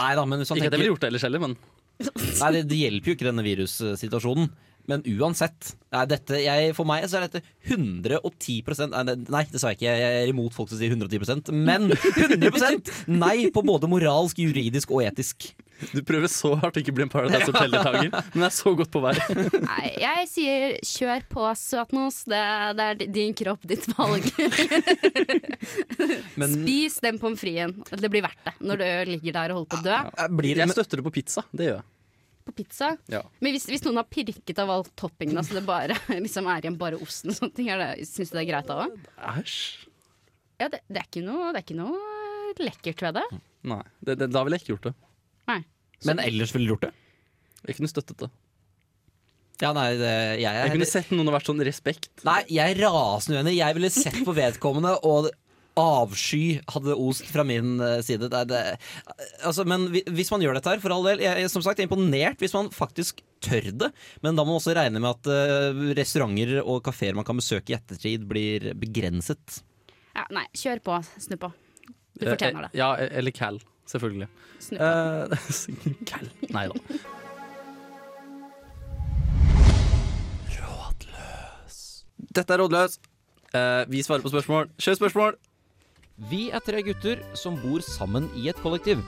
[SPEAKER 6] Nei da, men hvis han
[SPEAKER 1] Ikke at jeg ville
[SPEAKER 6] tenker,
[SPEAKER 1] gjort det ellers heller, men
[SPEAKER 6] nei, det, det hjelper jo ikke denne virussituasjonen. Men uansett. Nei, dette, jeg, for meg så er dette 110 Nei, det- nei, det sa jeg ikke. Jeg er imot folk som sier 110 men 100 nei på både moralsk, juridisk og etisk.
[SPEAKER 1] Du prøver så hardt å ikke bli en Paradise Hotel-deltaker, men er så godt på vei.
[SPEAKER 4] Nei, jeg sier kjør på, Søtnos. Det, det er din kropp, ditt valg.
[SPEAKER 1] Men
[SPEAKER 4] Spis den pommes fritesen. Det blir verdt det når du ligger der og holder på å dø.
[SPEAKER 6] Eh, Blir det,
[SPEAKER 1] jeg støtter det på pizza. Det gjør jeg.
[SPEAKER 4] På pizza.
[SPEAKER 1] Ja.
[SPEAKER 4] Men hvis, hvis noen har pirket av all toppingen, så det bare liksom er igjen bare osten og sånne ting, er det- syns du det er greit da òg?
[SPEAKER 1] Æsj.
[SPEAKER 4] Ja, det, det, er ikke noe- det er ikke noe lekkert ved det.
[SPEAKER 1] Nei, det, det, da ville jeg ikke gjort det.
[SPEAKER 6] men ellers ville du gjort det?
[SPEAKER 1] Jeg kunne støttet det.
[SPEAKER 6] Ja, nei, det, jeg,
[SPEAKER 1] Jeg
[SPEAKER 6] er-
[SPEAKER 1] kunne sett noen og vært sånn respekt.
[SPEAKER 6] nei, jeg er rasende uenig. Jeg ville sett på vedkommende, og avsky hadde ost fra min eh, side. Det, er- det, altså, men hvi- hvis man gjør dette her, for all del jeg, jeg- Som sagt, jeg er imponert hvis man faktisk tør det. Men da må man også regne med at eh, restauranter og kafeer man kan besøke i ettertid, blir begrenset.
[SPEAKER 4] Ja, nei, kjør på, snuppa. Du fortjener det.
[SPEAKER 1] Eh, Ja, eller Cal, selvfølgelig.
[SPEAKER 4] Snuppa.
[SPEAKER 1] Eh, Cal. Nei da. Dette er Rådløs. Eh, vi svarer på spørsmål. Kjør spørsmål!
[SPEAKER 11] Vi er tre gutter som bor sammen i et kollektiv.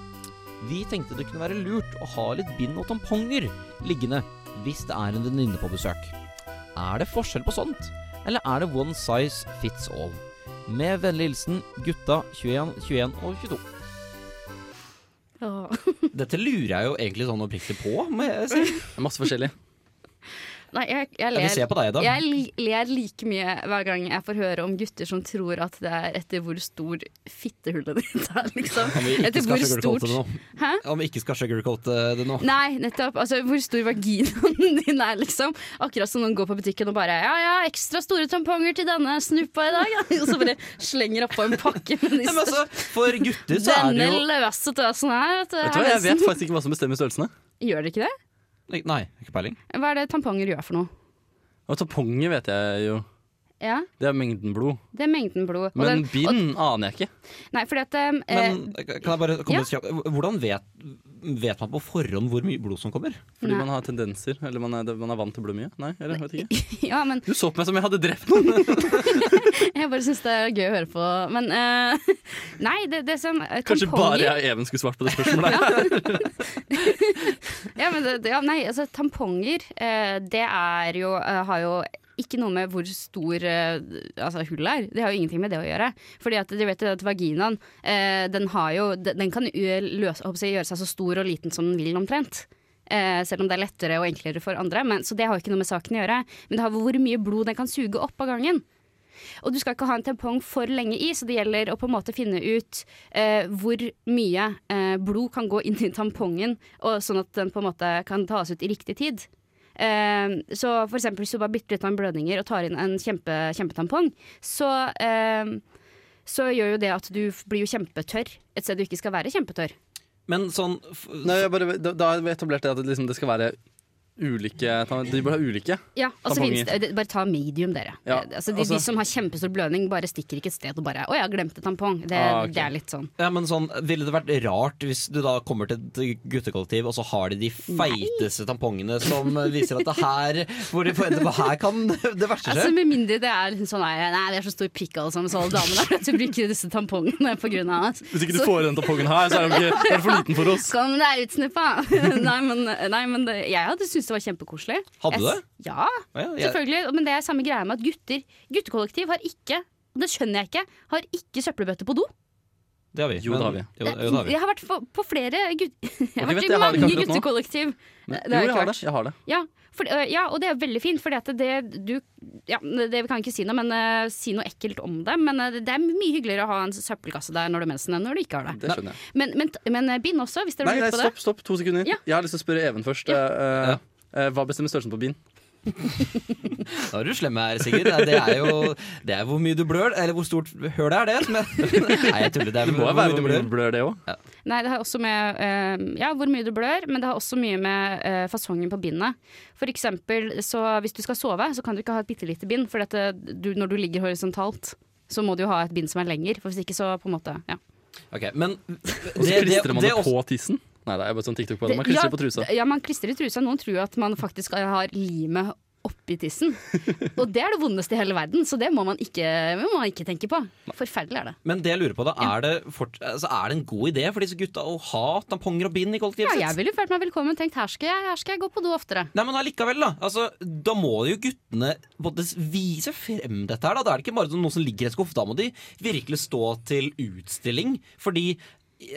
[SPEAKER 11] Vi tenkte det kunne være lurt å ha litt bind og tamponger liggende hvis det er en venninne på besøk. Er det forskjell på sånt, eller er det one size fits all? Med vennlig hilsen gutta 21, 21 og 22.
[SPEAKER 1] eh,
[SPEAKER 4] Åh.
[SPEAKER 6] Dette lurer jeg jo egentlig sånn oppriktig på, må jeg si.
[SPEAKER 1] Det er Masse forskjellig.
[SPEAKER 4] Nei, jeg, jeg
[SPEAKER 6] Jeg vil se
[SPEAKER 4] ler.
[SPEAKER 6] på deg, da.
[SPEAKER 4] Jeg li- ler like mye hver gang jeg får høre om gutter som tror at det er etter hvor stor fittehullet ditt er, liksom.
[SPEAKER 6] Om vi ikke
[SPEAKER 4] Etter
[SPEAKER 6] skal
[SPEAKER 4] hvor
[SPEAKER 6] sugarcoate det
[SPEAKER 4] stort
[SPEAKER 6] nå.
[SPEAKER 4] Hæ?
[SPEAKER 6] Om vi ikke skal sugarcoate det nå.
[SPEAKER 4] Nei, nettopp. Altså, hvor stor vaginaen din er, liksom. Akkurat som noen går på butikken og bare Ja, ja, ekstra store tamponger til denne snuppa i dag. Ja. Og så bare slenger oppå en pakke med de
[SPEAKER 6] Nei, men altså,
[SPEAKER 4] største.
[SPEAKER 6] for gutter så er det
[SPEAKER 4] Denne
[SPEAKER 6] jo
[SPEAKER 4] løse tøsen her. Vet du,
[SPEAKER 1] Vet du
[SPEAKER 4] er
[SPEAKER 1] hva, Jeg
[SPEAKER 4] nesten-
[SPEAKER 1] vet faktisk ikke hva som bestemmer størrelsene.
[SPEAKER 4] Gjør det ikke det?
[SPEAKER 6] Nei, ikke peiling.
[SPEAKER 4] Hva er det tamponger gjør for noe?
[SPEAKER 1] Og Tamponger vet jeg jo.
[SPEAKER 4] Ja,
[SPEAKER 1] Det er mengden blod.
[SPEAKER 4] det er mengden blod. Og
[SPEAKER 1] Men
[SPEAKER 4] den- og,
[SPEAKER 1] bind aner jeg ikke.
[SPEAKER 4] nei, fordi at eh,
[SPEAKER 6] Men kan jeg bare komme
[SPEAKER 4] ja.
[SPEAKER 6] litt kjapt? Hvordan vet, vet man på forhånd hvor mye blod som kommer?
[SPEAKER 1] Fordi
[SPEAKER 4] Nei.
[SPEAKER 1] man har tendenser. Eller man er, man er vant til blod mye. Nei, eller vet ikke.
[SPEAKER 4] Ja, men
[SPEAKER 1] Du så på meg som jeg hadde drept noen.
[SPEAKER 4] Jeg bare syns det er gøy å høre på. Men eh, nei, det, det som eh,
[SPEAKER 1] Kanskje bare
[SPEAKER 4] tamponger-
[SPEAKER 1] jeg og Even skulle svart på det spørsmålet.
[SPEAKER 4] ja, men det, det- ja, nei, altså tamponger, eh, det er jo eh, Har jo ikke noe med hvor stor eh, altså, hullet er. Det har jo ingenting med det å gjøre. Fordi at du vet jo at vaginaen, eh, den har jo Den den kan jo løse, håper jeg, gjøre seg så stor og liten som den vil, omtrent. Eh, selv om det er lettere og enklere for andre. Men, så det har jo ikke noe med saken å gjøre. Men det har hvor mye blod den kan suge opp av gangen. Og du skal ikke ha en tampong for lenge i, så det gjelder å på en måte finne ut eh, hvor mye eh, blod kan gå inn i tampongen, og sånn at den på en måte kan tas ut i riktig tid. Eh, så for eksempel hvis du bare bytter ut noen blødninger og tar inn en kjempe, kjempetampong, så, eh, så gjør jo det at du f- blir jo kjempetørr et sted du ikke skal være kjempetørr.
[SPEAKER 6] Men sånn f-
[SPEAKER 1] Nei, jeg bare, da, da har vi etablert det at det liksom, det skal være ulike De bør ha ulike.
[SPEAKER 4] Ja, og så
[SPEAKER 1] Tamponger.
[SPEAKER 4] finnes det, det- Bare ta medium, dere.
[SPEAKER 1] Ja,
[SPEAKER 4] Eh, altså, de,
[SPEAKER 1] altså-
[SPEAKER 4] de som har kjempestor blødning, bare stikker ikke et sted og bare 'Å, jeg glemte tampong'. Det,
[SPEAKER 1] Ah, ok.
[SPEAKER 4] det er litt sånn.
[SPEAKER 6] ja, men sånn, Ville det vært rart hvis du da kommer til et guttekollektiv, og så har de de feiteste tampongene som viser at det her hvor de, det her kan det verste skje?
[SPEAKER 4] Altså, med mindre det er liksom sånn der, Nei, vi er så stor pikk alle sammen, så alle damene der. Så bruker disse tampongene på grunn av oss.
[SPEAKER 1] Hvis ikke du får den tampongen her, så er den, ikke, er den for liten for oss.
[SPEAKER 4] Kom deg ut, snuppa! nei, men, nei, men det, jeg hadde syntes det var kjempekoselig.
[SPEAKER 6] Hadde du
[SPEAKER 4] Jeg-
[SPEAKER 6] det?
[SPEAKER 4] Ja,
[SPEAKER 6] Ja, jeg-
[SPEAKER 4] selvfølgelig. Men det er samme greia med at gutter Guttekollektiv har ikke og det skjønner jeg ikke. Har ikke søppelbøtte på do.
[SPEAKER 6] det har vi.
[SPEAKER 1] Jo, det har vi.
[SPEAKER 6] Jo, jo, det har vi.
[SPEAKER 4] Jeg har vært på, på flere gutt... Jeg
[SPEAKER 1] Ok, vent,
[SPEAKER 4] har vært
[SPEAKER 1] jeg
[SPEAKER 4] i
[SPEAKER 1] har det ikke
[SPEAKER 4] mange
[SPEAKER 1] akkurat nå.
[SPEAKER 4] guttekollektiv. Det
[SPEAKER 1] jo,
[SPEAKER 4] har jeg
[SPEAKER 1] jeg har
[SPEAKER 4] klart.
[SPEAKER 1] det. Jeg har det.
[SPEAKER 4] Ja, for, øh, ja, og det er veldig fint, for det, du, ja, det vi kan ikke si noe, men, øh, si noe ekkelt om det. Men øh, det er mye hyggeligere å ha en søppelkasse der når du har mensen enn når du ikke har det.
[SPEAKER 1] Det skjønner jeg.
[SPEAKER 4] Men, men, men øh, bind også, hvis dere
[SPEAKER 1] Nei, nei,
[SPEAKER 4] har lurt på det.
[SPEAKER 1] stopp, stopp, to sekunder.
[SPEAKER 4] Ja.
[SPEAKER 1] Jeg har lyst til å spørre Even først. Eh, eh, eh, hva bestemmer størrelsen på bind?
[SPEAKER 6] Da er du slem her, Sigurd. Det er jo det er hvor mye du blør, eller hvor stort høl det er det. som jeg- Nei, jeg tuller. Det er
[SPEAKER 1] Det må jo
[SPEAKER 6] hvor
[SPEAKER 1] være
[SPEAKER 6] mye du
[SPEAKER 1] hvor mye
[SPEAKER 6] blør.
[SPEAKER 1] du blør, det òg.
[SPEAKER 4] Nei, det har også med øh, ja, hvor mye du blør, men det har også mye med øh, fasongen på bindet. For eksempel, så hvis du skal sove, så kan du ikke ha et bitte lite bind, for dette, du, når du ligger horisontalt, så må du jo ha et bind som er lenger, for hvis ikke så på en måte, ja.
[SPEAKER 6] Ok, men
[SPEAKER 1] Og så
[SPEAKER 6] det- det-
[SPEAKER 1] klistrer man det,
[SPEAKER 6] det er også-
[SPEAKER 1] på tissen. Nei, det er bare sånn TikTok på det. Man klistrer på trusa.
[SPEAKER 4] Ja, man klistrer i trusa. Noen tror at man faktisk har limet oppi tissen. Og det er det vondeste i hele verden, så det må man ikke, må man ikke tenke på. Forferdelig er det.
[SPEAKER 6] Men det jeg lurer på da, er det, fort, altså, er det en god idé for disse gutta å ha tamponger og bind i
[SPEAKER 4] Ja,
[SPEAKER 6] kollektivet
[SPEAKER 4] jeg ville følt meg velkommen tenkt her skal jeg, her skal jeg gå på do oftere.
[SPEAKER 6] Nei, men allikevel, da. Altså, da må jo guttene både vise frem dette her. Da Da er det ikke bare sånn noen som ligger i en skuff. Da må de virkelig stå til utstilling. Fordi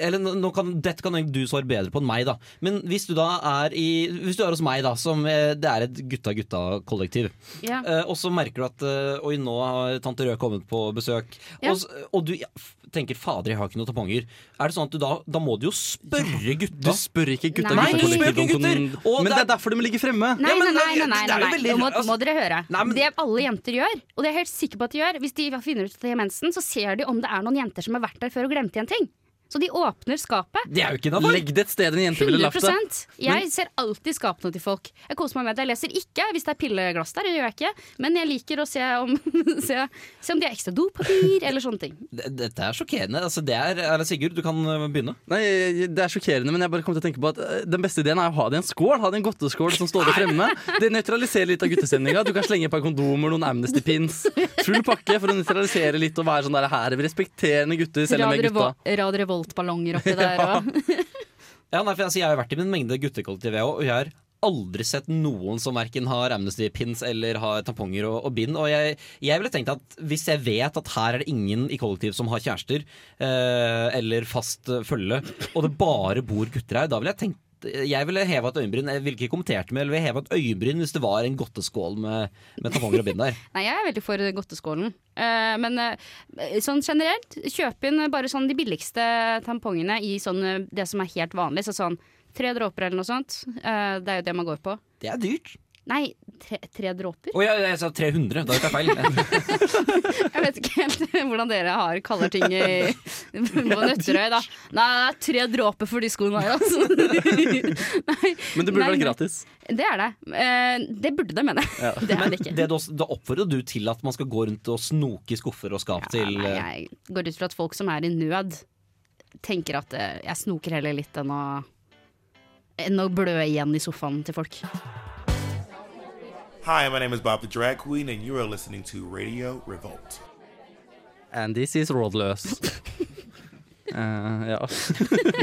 [SPEAKER 6] eller nå nå kan, Dette kan egentlig du svare bedre på enn meg, da. Men hvis du da er i Hvis du er hos meg, da, som eh, det er et gutta-gutta-kollektiv,
[SPEAKER 4] Ja.
[SPEAKER 6] eh, og så merker du at eh, Oi, nå har tante Rød kommet på besøk,
[SPEAKER 4] Ja.
[SPEAKER 6] og, s- og du ja, f- tenker 'fader, jeg har ikke noen tamponger', er det sånn at du da, da må du jo spørre
[SPEAKER 1] Du
[SPEAKER 6] gutta?
[SPEAKER 1] spør ikke gutta
[SPEAKER 4] Nei,
[SPEAKER 1] gutta
[SPEAKER 4] du spør
[SPEAKER 1] kollektivet
[SPEAKER 6] ikke
[SPEAKER 1] om
[SPEAKER 6] gutter,
[SPEAKER 1] kon-
[SPEAKER 6] og
[SPEAKER 1] Men det
[SPEAKER 6] det er-
[SPEAKER 1] er derfor de ligger fremme!
[SPEAKER 4] Nei,
[SPEAKER 6] Ja,
[SPEAKER 4] nei,
[SPEAKER 6] men
[SPEAKER 4] nei. nei,
[SPEAKER 6] det-
[SPEAKER 4] nei,
[SPEAKER 6] det er jo
[SPEAKER 4] nei,
[SPEAKER 6] veldig
[SPEAKER 4] Nå må,
[SPEAKER 6] rart, altså.
[SPEAKER 4] må dere høre.
[SPEAKER 6] Nei, men-
[SPEAKER 4] Det alle jenter gjør, og det er jeg helt sikker på at de gjør, hvis de finner ut at de har mensen, så ser de om det er noen jenter som har vært der før og glemt igjen ting. Så de åpner skapet.
[SPEAKER 6] Det er jo ikke innafor!
[SPEAKER 1] Legg det et sted en jente ville lagt det.
[SPEAKER 4] 100 Jeg ser alltid skapene til folk. Jeg koser meg med det. Jeg leser ikke hvis det er pilleglass der, det gjør jeg ikke. Men jeg liker å se om, se, se om de har ekstra dopapir eller sånne ting.
[SPEAKER 6] D- Dette er sjokkerende. Altså, det er, eller Sigurd, du kan øh, begynne.
[SPEAKER 1] Nei, Det er sjokkerende, men jeg bare kom til å tenke på at eh, den beste ideen er å ha det i en skål. Ha det i en godteskål som står der fremme. Det nøytraliserer litt av guttestemninga. Du kan slenge et par kondomer, noen Amnesty pins. Full pakke for å nøytralisere litt og være sånn der her er vi respekterende gutter, selv om vi er
[SPEAKER 4] Radio
[SPEAKER 1] gutta.
[SPEAKER 4] Revol- Radio Revolt-ballonger oppi der. Og.
[SPEAKER 6] Ja, nei, for altså, jeg har jo vært i min mengde guttekollektiv, jeg òg, og jeg har aldri sett noen som verken har Amnesty-pins eller har tamponger og, og bind. Og jeg, jeg ville tenkt at hvis jeg vet at her er det ingen i kollektiv som har kjærester eh, eller fast eh, følge, og det bare bor gutter her, da ville jeg tenkt jeg ville heva et øyenbryn Jeg ville ikke kommentert med, eller ville heva et øyenbryn hvis det var en godteskål med, med tamponger og bind der.
[SPEAKER 4] Nei, jeg er veldig for godteskålen. Eh, men eh, sånn generelt, kjøp inn bare sånn de billigste tampongene i sånn, eh, det som er helt vanlig. Så sånn tre dråper eller noe sånt. Eh, det er jo det man går på.
[SPEAKER 6] Det er dyrt.
[SPEAKER 4] Nei, tre, tre dråper?
[SPEAKER 6] Å, jeg, jeg sa 300. Da tok jeg feil.
[SPEAKER 4] Jeg vet ikke helt hvordan dere har kaller ting i, på Nøtterøy, da. Nei, det er tre dråper for de skoene her, altså. Nei,
[SPEAKER 1] Men det burde
[SPEAKER 4] Nei,
[SPEAKER 1] vært
[SPEAKER 4] nei.
[SPEAKER 1] gratis.
[SPEAKER 4] det er det. Eh, det burde det, mener jeg. Det er det ikke.
[SPEAKER 6] det du også, da oppfordrer du til at man skal gå rundt og snoke i skuffer og skap
[SPEAKER 4] Ja,
[SPEAKER 6] til
[SPEAKER 4] nei,
[SPEAKER 6] eh,
[SPEAKER 4] jeg går ut fra at folk som er i nød, tenker at eh, jeg snoker heller litt enn å enn å blø igjen i sofaen til folk.
[SPEAKER 12] Hi, my name is Bob the Drag Queen, and you are listening to Radio Revolt.
[SPEAKER 1] And this is rådløs. Eh, ja.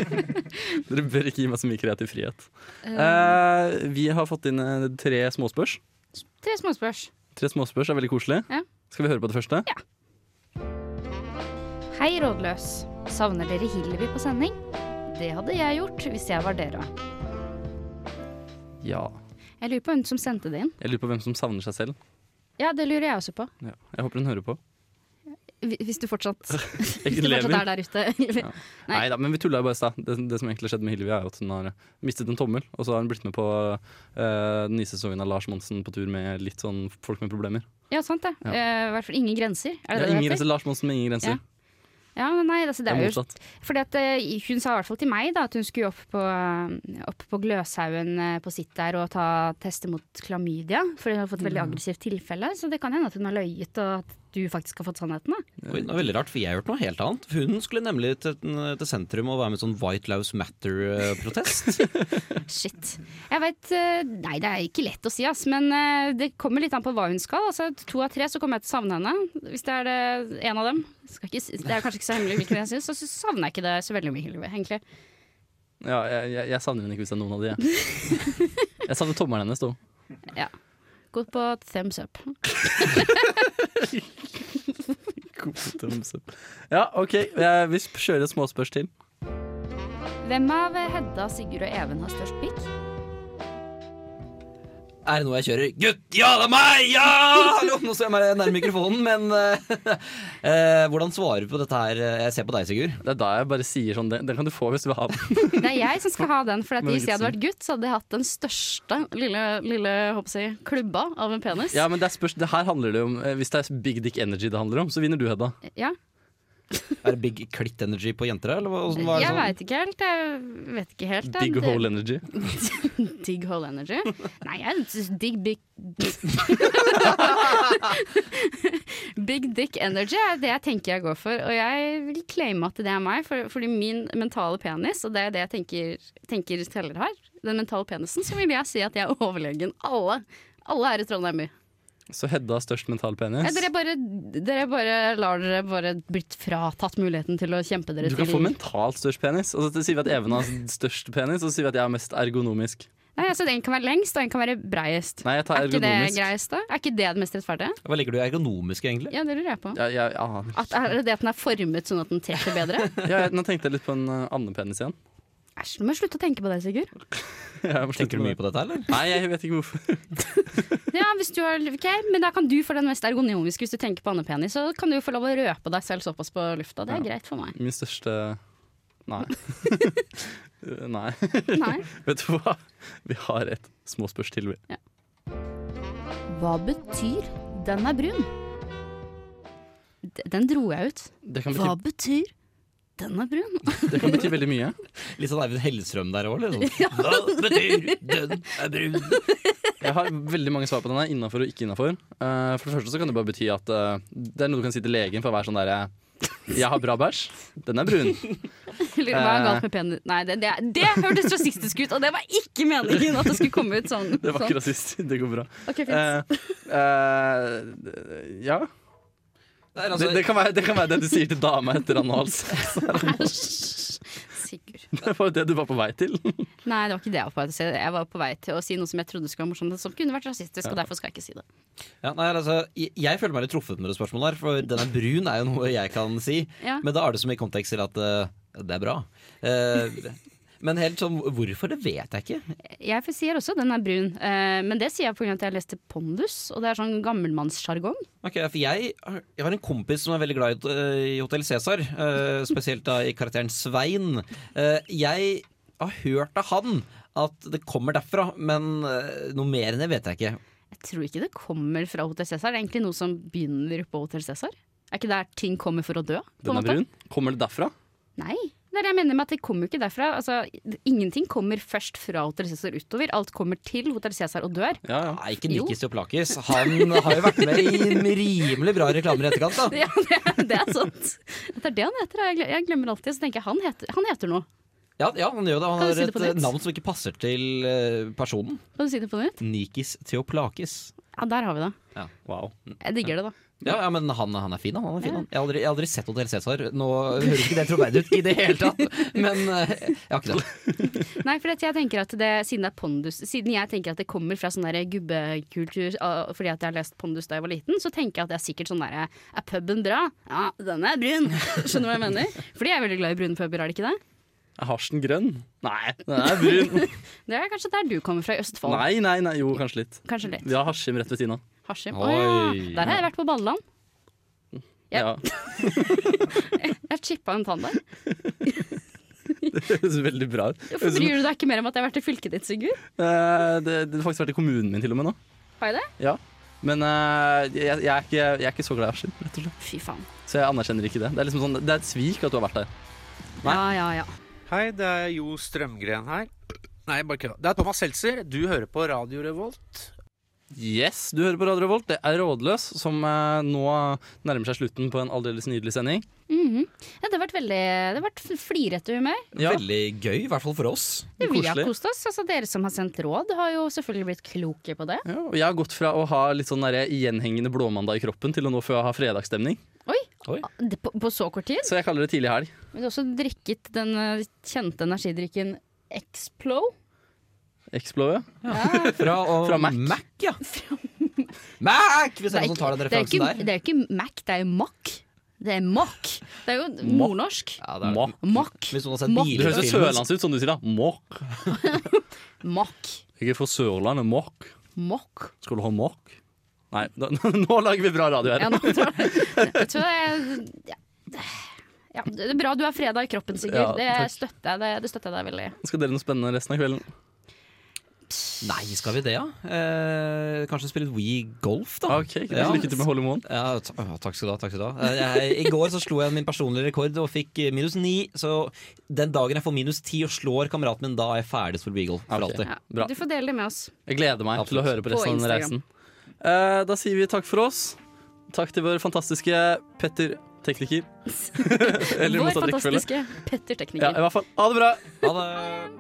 [SPEAKER 1] Dere bør ikke gi meg så mye kreativ frihet. Eh, vi har fått inn eh, tre småspørs.
[SPEAKER 4] Tre småspørs.
[SPEAKER 1] Tre småspørs er veldig koselig.
[SPEAKER 4] Ja.
[SPEAKER 1] Skal vi høre på det første?
[SPEAKER 8] Hei, rådløs. Savner dere Hillevi på sending? Det hadde jeg gjort hvis jeg var dere.
[SPEAKER 1] Ja.
[SPEAKER 4] Jeg lurer på hvem som sendte det inn.
[SPEAKER 1] Jeg lurer på hvem som savner seg selv.
[SPEAKER 4] Ja, det lurer jeg også på.
[SPEAKER 1] Ja. Jeg håper hun hører på.
[SPEAKER 4] Hvi- Hvis du fortsatt, hvis
[SPEAKER 1] Jeg
[SPEAKER 4] du
[SPEAKER 1] lever.
[SPEAKER 4] fortsatt er der ute.
[SPEAKER 1] Ja. Nei. da, men vi tulla jo bare i stad. Det, det som egentlig skjedde med Hillevi, er jo at hun har mistet en tommel. Og så har hun blitt med på eh, den nye sesongen av Lars Monsen på tur med litt sånn folk med problemer.
[SPEAKER 4] Ja, sant det.
[SPEAKER 1] Ja.
[SPEAKER 4] Eh, I hvert fall ingen grenser. Er
[SPEAKER 1] Ja,
[SPEAKER 4] det
[SPEAKER 1] ingen
[SPEAKER 4] det det heter?
[SPEAKER 1] grenser, Lars Monsen med ingen grenser.
[SPEAKER 4] Ja. Ja, men nei, altså,
[SPEAKER 1] Det
[SPEAKER 4] det
[SPEAKER 1] er
[SPEAKER 4] er jo
[SPEAKER 1] motsatt.
[SPEAKER 4] Fordi at eh, Hun sa i hvert fall til meg da, at hun skulle opp på, eh, opp på Gløshaugen eh, på sitt der og ta teste mot klamydia. For hun har
[SPEAKER 1] Mm.
[SPEAKER 4] fått et veldig aggressivt tilfelle. Så det kan hende at hun har løyet, og at du faktisk har fått sannheten. Da.
[SPEAKER 6] Oi, det er veldig rart, for jeg har hørt noe helt annet. For Hun skulle nemlig til, til sentrum og være med i sånn White Lives Matter-protest.
[SPEAKER 4] Shit. Jeg vet, eh, Nei, det er ikke lett å si, ass. Men eh, det kommer litt an på hva hun skal. Altså, to av tre så kommer jeg til å savne henne. Hvis det er det, en av dem. Skal ikke, si- det er kanskje ikke så hemmelig hvilken jeg syns. Så savner jeg ikke det så veldig mye, Hylve, egentlig.
[SPEAKER 1] Ja, jeg, jeg, jeg savner henne ikke hvis det er noen av de. Jeg, jeg savner tommelen hennes, da.
[SPEAKER 4] Gå på thumbs up.
[SPEAKER 1] Ja, OK. eh, Vi kjører et småspørs til.
[SPEAKER 8] Hvem av Hedda, Sigurd og Even har størst pikk?
[SPEAKER 6] er det noe jeg kjører? Gutt, ja, det er meg! Ja! Hallo, nå står jeg meg nær mikrofonen, men eh, eh, Hvordan svarer du på dette her? Jeg ser på deg, Sigurd.
[SPEAKER 1] Det er da jeg bare sier sånn Den, den kan du få hvis du vil ha den.
[SPEAKER 4] Det er jeg som skal ha den, for at
[SPEAKER 1] Men
[SPEAKER 4] hvis jeg hadde
[SPEAKER 1] Gudsen.
[SPEAKER 4] vært gutt, så hadde jeg hatt den største lille, lille håper jeg, å si, klubba av en penis.
[SPEAKER 1] Ja, men det, er spørs, det her handler det om eh, Hvis det er big dick energy det handler om, så vinner du, Hedda.
[SPEAKER 4] Ja.
[SPEAKER 6] Er det Big Klitt Energy på jenter her, eller hva- hvordan var det
[SPEAKER 4] Jeg
[SPEAKER 6] sånn?
[SPEAKER 4] veit ikke helt. Jeg vet ikke helt.
[SPEAKER 1] Big
[SPEAKER 4] Det-
[SPEAKER 1] hole energy.
[SPEAKER 4] Digg hole energy? Nei, jeg synes digg big Big dick energy er det jeg tenker jeg går for. Og jeg vil claime at det er meg, for, fordi min mentale penis, og det er det jeg tenker, tenker teller har, den mentale penisen, så vil jeg si at jeg er overlegen alle Alle er i Trondheim by.
[SPEAKER 1] Så Hedda har størst mental penis?
[SPEAKER 4] Ja, dere, bare, dere bare lar dere bare blitt fratatt muligheten til å kjempe dere
[SPEAKER 1] Du kan
[SPEAKER 4] til
[SPEAKER 1] få mentalt størst penis. Altså, Og så sier vi at Even har størst penis, og så sier vi at jeg har mest ergonomisk.
[SPEAKER 4] Nei, altså Den kan være lengst, og den kan være breiest.
[SPEAKER 1] Nei, jeg tar
[SPEAKER 4] Er ikke det
[SPEAKER 1] ergonomisk.
[SPEAKER 4] greiest, da? Er ikke det det mest rettferdige?
[SPEAKER 6] Hva legger du i ergonomisk, egentlig?
[SPEAKER 4] Ja, det lurer jeg på.
[SPEAKER 1] Ja, jeg aner.
[SPEAKER 4] At, er det det at den er formet sånn at den treffer bedre?
[SPEAKER 1] Ja, jeg, nå tenkte jeg litt på en eh, annen penis igjen.
[SPEAKER 4] Æsj, nå må jeg slutte å tenke på det, Sigurd.
[SPEAKER 1] Tenker
[SPEAKER 6] du mye på dette, eller?
[SPEAKER 1] Nei, jeg vet ikke hvorfor.
[SPEAKER 4] Ja, hvis du har, ok, Men da kan du få den mest ergonomiske hvis du tenker på andepenis. Så kan du få lov å røpe deg selv såpass på lufta. Det er greit for meg.
[SPEAKER 1] Min største Nei. Nei.
[SPEAKER 4] Nei.
[SPEAKER 1] Vet du hva? Vi har et småspørs til, vi.
[SPEAKER 3] Hva betyr 'den er brun'?
[SPEAKER 4] D- Den dro jeg ut.
[SPEAKER 1] Det kan
[SPEAKER 4] Hva
[SPEAKER 1] bety,
[SPEAKER 4] betyr 'den er brun'?
[SPEAKER 1] det kan bety veldig mye.
[SPEAKER 6] Litt sånn Eivind Hellstrøm der òg, eller? Sånn. Hva betyr den er brun?
[SPEAKER 1] Jeg har veldig mange svar på denne, innafor og ikke innafor. Eh, for det første så kan det bare bety at eh, det er noe du kan si til legen for å være sånn derre Jeg har bra bæsj. Den er brun.
[SPEAKER 4] Eller Hva er galt med penis? Nei, det, det, det hørtes rasistisk ut, og det var ikke meningen at det skulle komme ut sånn.
[SPEAKER 1] Det var
[SPEAKER 4] sånn.
[SPEAKER 1] ikke rasist. Det går bra.
[SPEAKER 4] Ok, fint.
[SPEAKER 1] Eh, eh, ja.
[SPEAKER 6] Det er
[SPEAKER 1] Det,
[SPEAKER 6] altså,
[SPEAKER 1] det, kan være, det kan være det du sier til dama etter analsex.
[SPEAKER 4] Sigurd.
[SPEAKER 1] Det var jo det du var på vei til.
[SPEAKER 4] Nei, det var ikke det jeg var på vei til å si. Jeg var på vei til å si noe som jeg trodde skulle være morsomt, som kunne vært rasistisk, og derfor skal jeg ikke si det.
[SPEAKER 6] ja, nei, altså, jeg- jeg føler meg litt truffet med det spørsmålet her, for den er brun er jo noe jeg kan si.
[SPEAKER 4] Ja.
[SPEAKER 6] Men da er det så mye kontekst til at eh, det er bra. Eh, men helt sånn hvorfor, det vet jeg ikke.
[SPEAKER 4] Jeg får- sier også den er brun, eh, men det sier jeg pga. at jeg leste Pondus, og det er sånn gammelmannssjargong.
[SPEAKER 6] Ok, for jeg, har- jeg har en kompis som er veldig glad i, eh, i Hotell Cæsar, eh, spesielt da i karakteren Svein. Eh, jeg har hørt av han at det kommer derfra, men eh, noe mer enn det vet jeg ikke.
[SPEAKER 4] Jeg tror ikke det kommer fra Hotel Cæsar, det er egentlig noe som begynner på Hotel Cæsar. Er ikke der ting kommer for å dø?
[SPEAKER 1] Den
[SPEAKER 4] på en
[SPEAKER 1] er
[SPEAKER 4] måte?
[SPEAKER 1] brun. Kommer det derfra?
[SPEAKER 4] Nei. Det er det jeg mener med at det kommer jo ikke derfra. Altså, ingenting kommer først fra Hotel Cæsar utover. Alt kommer til Hotel Cæsar og dør.
[SPEAKER 1] Ja, ja.
[SPEAKER 6] Nei, ikke
[SPEAKER 4] Jo.
[SPEAKER 6] Nikis Theoplakis. Han har jo vært med i rimelig bra reklamer i etterkant, da.
[SPEAKER 4] Ja, det, er- det er sant. Det er det han heter. Jeg gle- Jeg glemmer alltid, så tenker jeg han heter, han heter noe.
[SPEAKER 6] Ja, ja han gjør det. Han
[SPEAKER 4] Kan du
[SPEAKER 6] har
[SPEAKER 4] si det
[SPEAKER 6] et
[SPEAKER 4] på
[SPEAKER 6] eh,
[SPEAKER 4] nytt?
[SPEAKER 6] navn som ikke passer til eh, personen.
[SPEAKER 4] Kan du si det på nytt?
[SPEAKER 6] Nikis Theoplakis.
[SPEAKER 4] Ja, der har vi det.
[SPEAKER 6] Ja, wow.
[SPEAKER 4] Jeg digger det, da.
[SPEAKER 6] Ja, ja, men han, han er fin, han. han er fin han. Jeg, har aldri, jeg har aldri sett Hotell Cæsar. Nå høres ikke det troverdig ut i det hele tatt, men eh, jeg har ikke det.
[SPEAKER 4] Nei, for at jeg tenker at det, siden det er pondus Siden jeg tenker at det kommer fra sånn der gubbekultur ah, fordi at jeg har lest pondus da jeg var liten, så tenker jeg at det er sikkert sånn derre Er puben bra? Ja, den er brun! Skjønner du hva jeg mener? Fordi jeg er veldig glad i brune puber, er det ikke det?
[SPEAKER 1] Er hasjen grønn? Nei, den er brun.
[SPEAKER 4] Det er kanskje der du kommer fra, i Østfold.
[SPEAKER 1] Nei, nei, nei. Jo, kanskje litt.
[SPEAKER 4] Kanskje litt.
[SPEAKER 1] Vi har Hashim rett ved siden av.
[SPEAKER 4] Hashim. Å ja.
[SPEAKER 6] Oi.
[SPEAKER 4] Der har jeg vært på Balleland.
[SPEAKER 1] Ja.
[SPEAKER 4] Ja. Jeg chippa en tann der.
[SPEAKER 1] Det høres veldig bra ut. Det
[SPEAKER 4] Hvorfor
[SPEAKER 1] høres ut.
[SPEAKER 4] bryr du deg ikke mer om at jeg har vært i fylket ditt, Sigurd?
[SPEAKER 1] som- Eh, Det det har faktisk vært i kommunen min til og med nå.
[SPEAKER 4] Har jeg det?
[SPEAKER 1] Ja. Men eh, jeg, jeg, er ikke, jeg er ikke så glad i Hashim, rett og slett.
[SPEAKER 4] Fy faen.
[SPEAKER 1] Så jeg anerkjenner ikke det. Det er, liksom sånn, det er et svik at du har vært der.
[SPEAKER 4] Ja, ja, ja.
[SPEAKER 13] Hei, det er Jo Strømgren her. Nei, bare kødda. Det er Thomas Seltzer. Du hører på Radio Revolt.
[SPEAKER 1] Yes, du hører på Radio Revolt. Det er Rådløs, som eh, nå nærmer seg slutten på en aldeles nydelig sending.
[SPEAKER 4] Mhm. ja det har vært veldig Det har vært flirete humør.
[SPEAKER 1] Ja.
[SPEAKER 6] Veldig gøy, i hvert fall for oss.
[SPEAKER 4] Ja, Vi har
[SPEAKER 1] Koselig.
[SPEAKER 4] kost oss. Altså, dere som har sendt råd, har jo selvfølgelig blitt kloke på det.
[SPEAKER 1] Ja, og jeg har gått fra å ha litt sånn der gjenhengende blåmandag i kroppen til å nå få ha fredagsstemning.
[SPEAKER 4] Det- På, på så kort tid.
[SPEAKER 1] Så jeg kaller det tidlig helg.
[SPEAKER 4] Men du har også drikket den eh, kjente energidrikken Explo.
[SPEAKER 1] Explo, ja.
[SPEAKER 6] Fra, og,
[SPEAKER 1] Fra Mac.
[SPEAKER 6] Mac, ja. Mac! Hvis det er noen som tar den
[SPEAKER 4] det er jo
[SPEAKER 6] referansen
[SPEAKER 4] ikke,
[SPEAKER 6] der.
[SPEAKER 4] det er jo ikke Mac, det er jo Mack. Det er Mack. Det er jo nordnorsk.
[SPEAKER 6] Ja, det er-
[SPEAKER 1] Mac.
[SPEAKER 4] Mack.
[SPEAKER 6] Hvis noen har sett
[SPEAKER 4] Mac.
[SPEAKER 1] Det høres jo
[SPEAKER 6] bilfilmen
[SPEAKER 1] sørlandsk ut, som du sier da. Mokk.
[SPEAKER 4] Mack.
[SPEAKER 1] Jeg er fra Sørlandet, mokk.
[SPEAKER 4] Mokk.
[SPEAKER 1] Skal du ha mokk? Nei, da, nå lager vi bra radio her.
[SPEAKER 4] Ja, nå tror jeg, jeg tror jeg ja. Ja, det er bra du har fredag i kroppen, Sigurd.
[SPEAKER 1] Ja,
[SPEAKER 4] det, støtter jeg, deg- det støtter jeg deg veldig.
[SPEAKER 1] Skal dere noe spennende resten av kvelden?
[SPEAKER 6] Nei, skal vi det, ja? Eh, kanskje spille litt Wii Golf, da?
[SPEAKER 1] Ok, greit.
[SPEAKER 6] Ja.
[SPEAKER 1] Lykke til med Hollymoen.
[SPEAKER 6] Ja, ta- å, takk skal du ha. takk skal du ha Eh, jeg, I går så slo jeg min personlige rekord og fikk eh, minus ni. Så den dagen jeg får minus ti og slår kameraten min, da er jeg ferdig som Beagle. For
[SPEAKER 1] Ok.
[SPEAKER 6] alltid.
[SPEAKER 4] Ja,
[SPEAKER 1] Bra.
[SPEAKER 4] du får dele det med oss.
[SPEAKER 1] Jeg gleder meg til å
[SPEAKER 6] Absolutt.
[SPEAKER 1] høre på resten
[SPEAKER 4] På
[SPEAKER 1] av denne reisen.
[SPEAKER 4] Instagram.
[SPEAKER 1] Eh, da sier vi takk for oss. Takk til vår fantastiske Petter tekniker. Eller i
[SPEAKER 4] Vår
[SPEAKER 1] motsatt rekkefølge.
[SPEAKER 4] fantastiske Petter-tekniker.
[SPEAKER 1] Ja, i hvert fall. Ha det bra!
[SPEAKER 6] Ha det.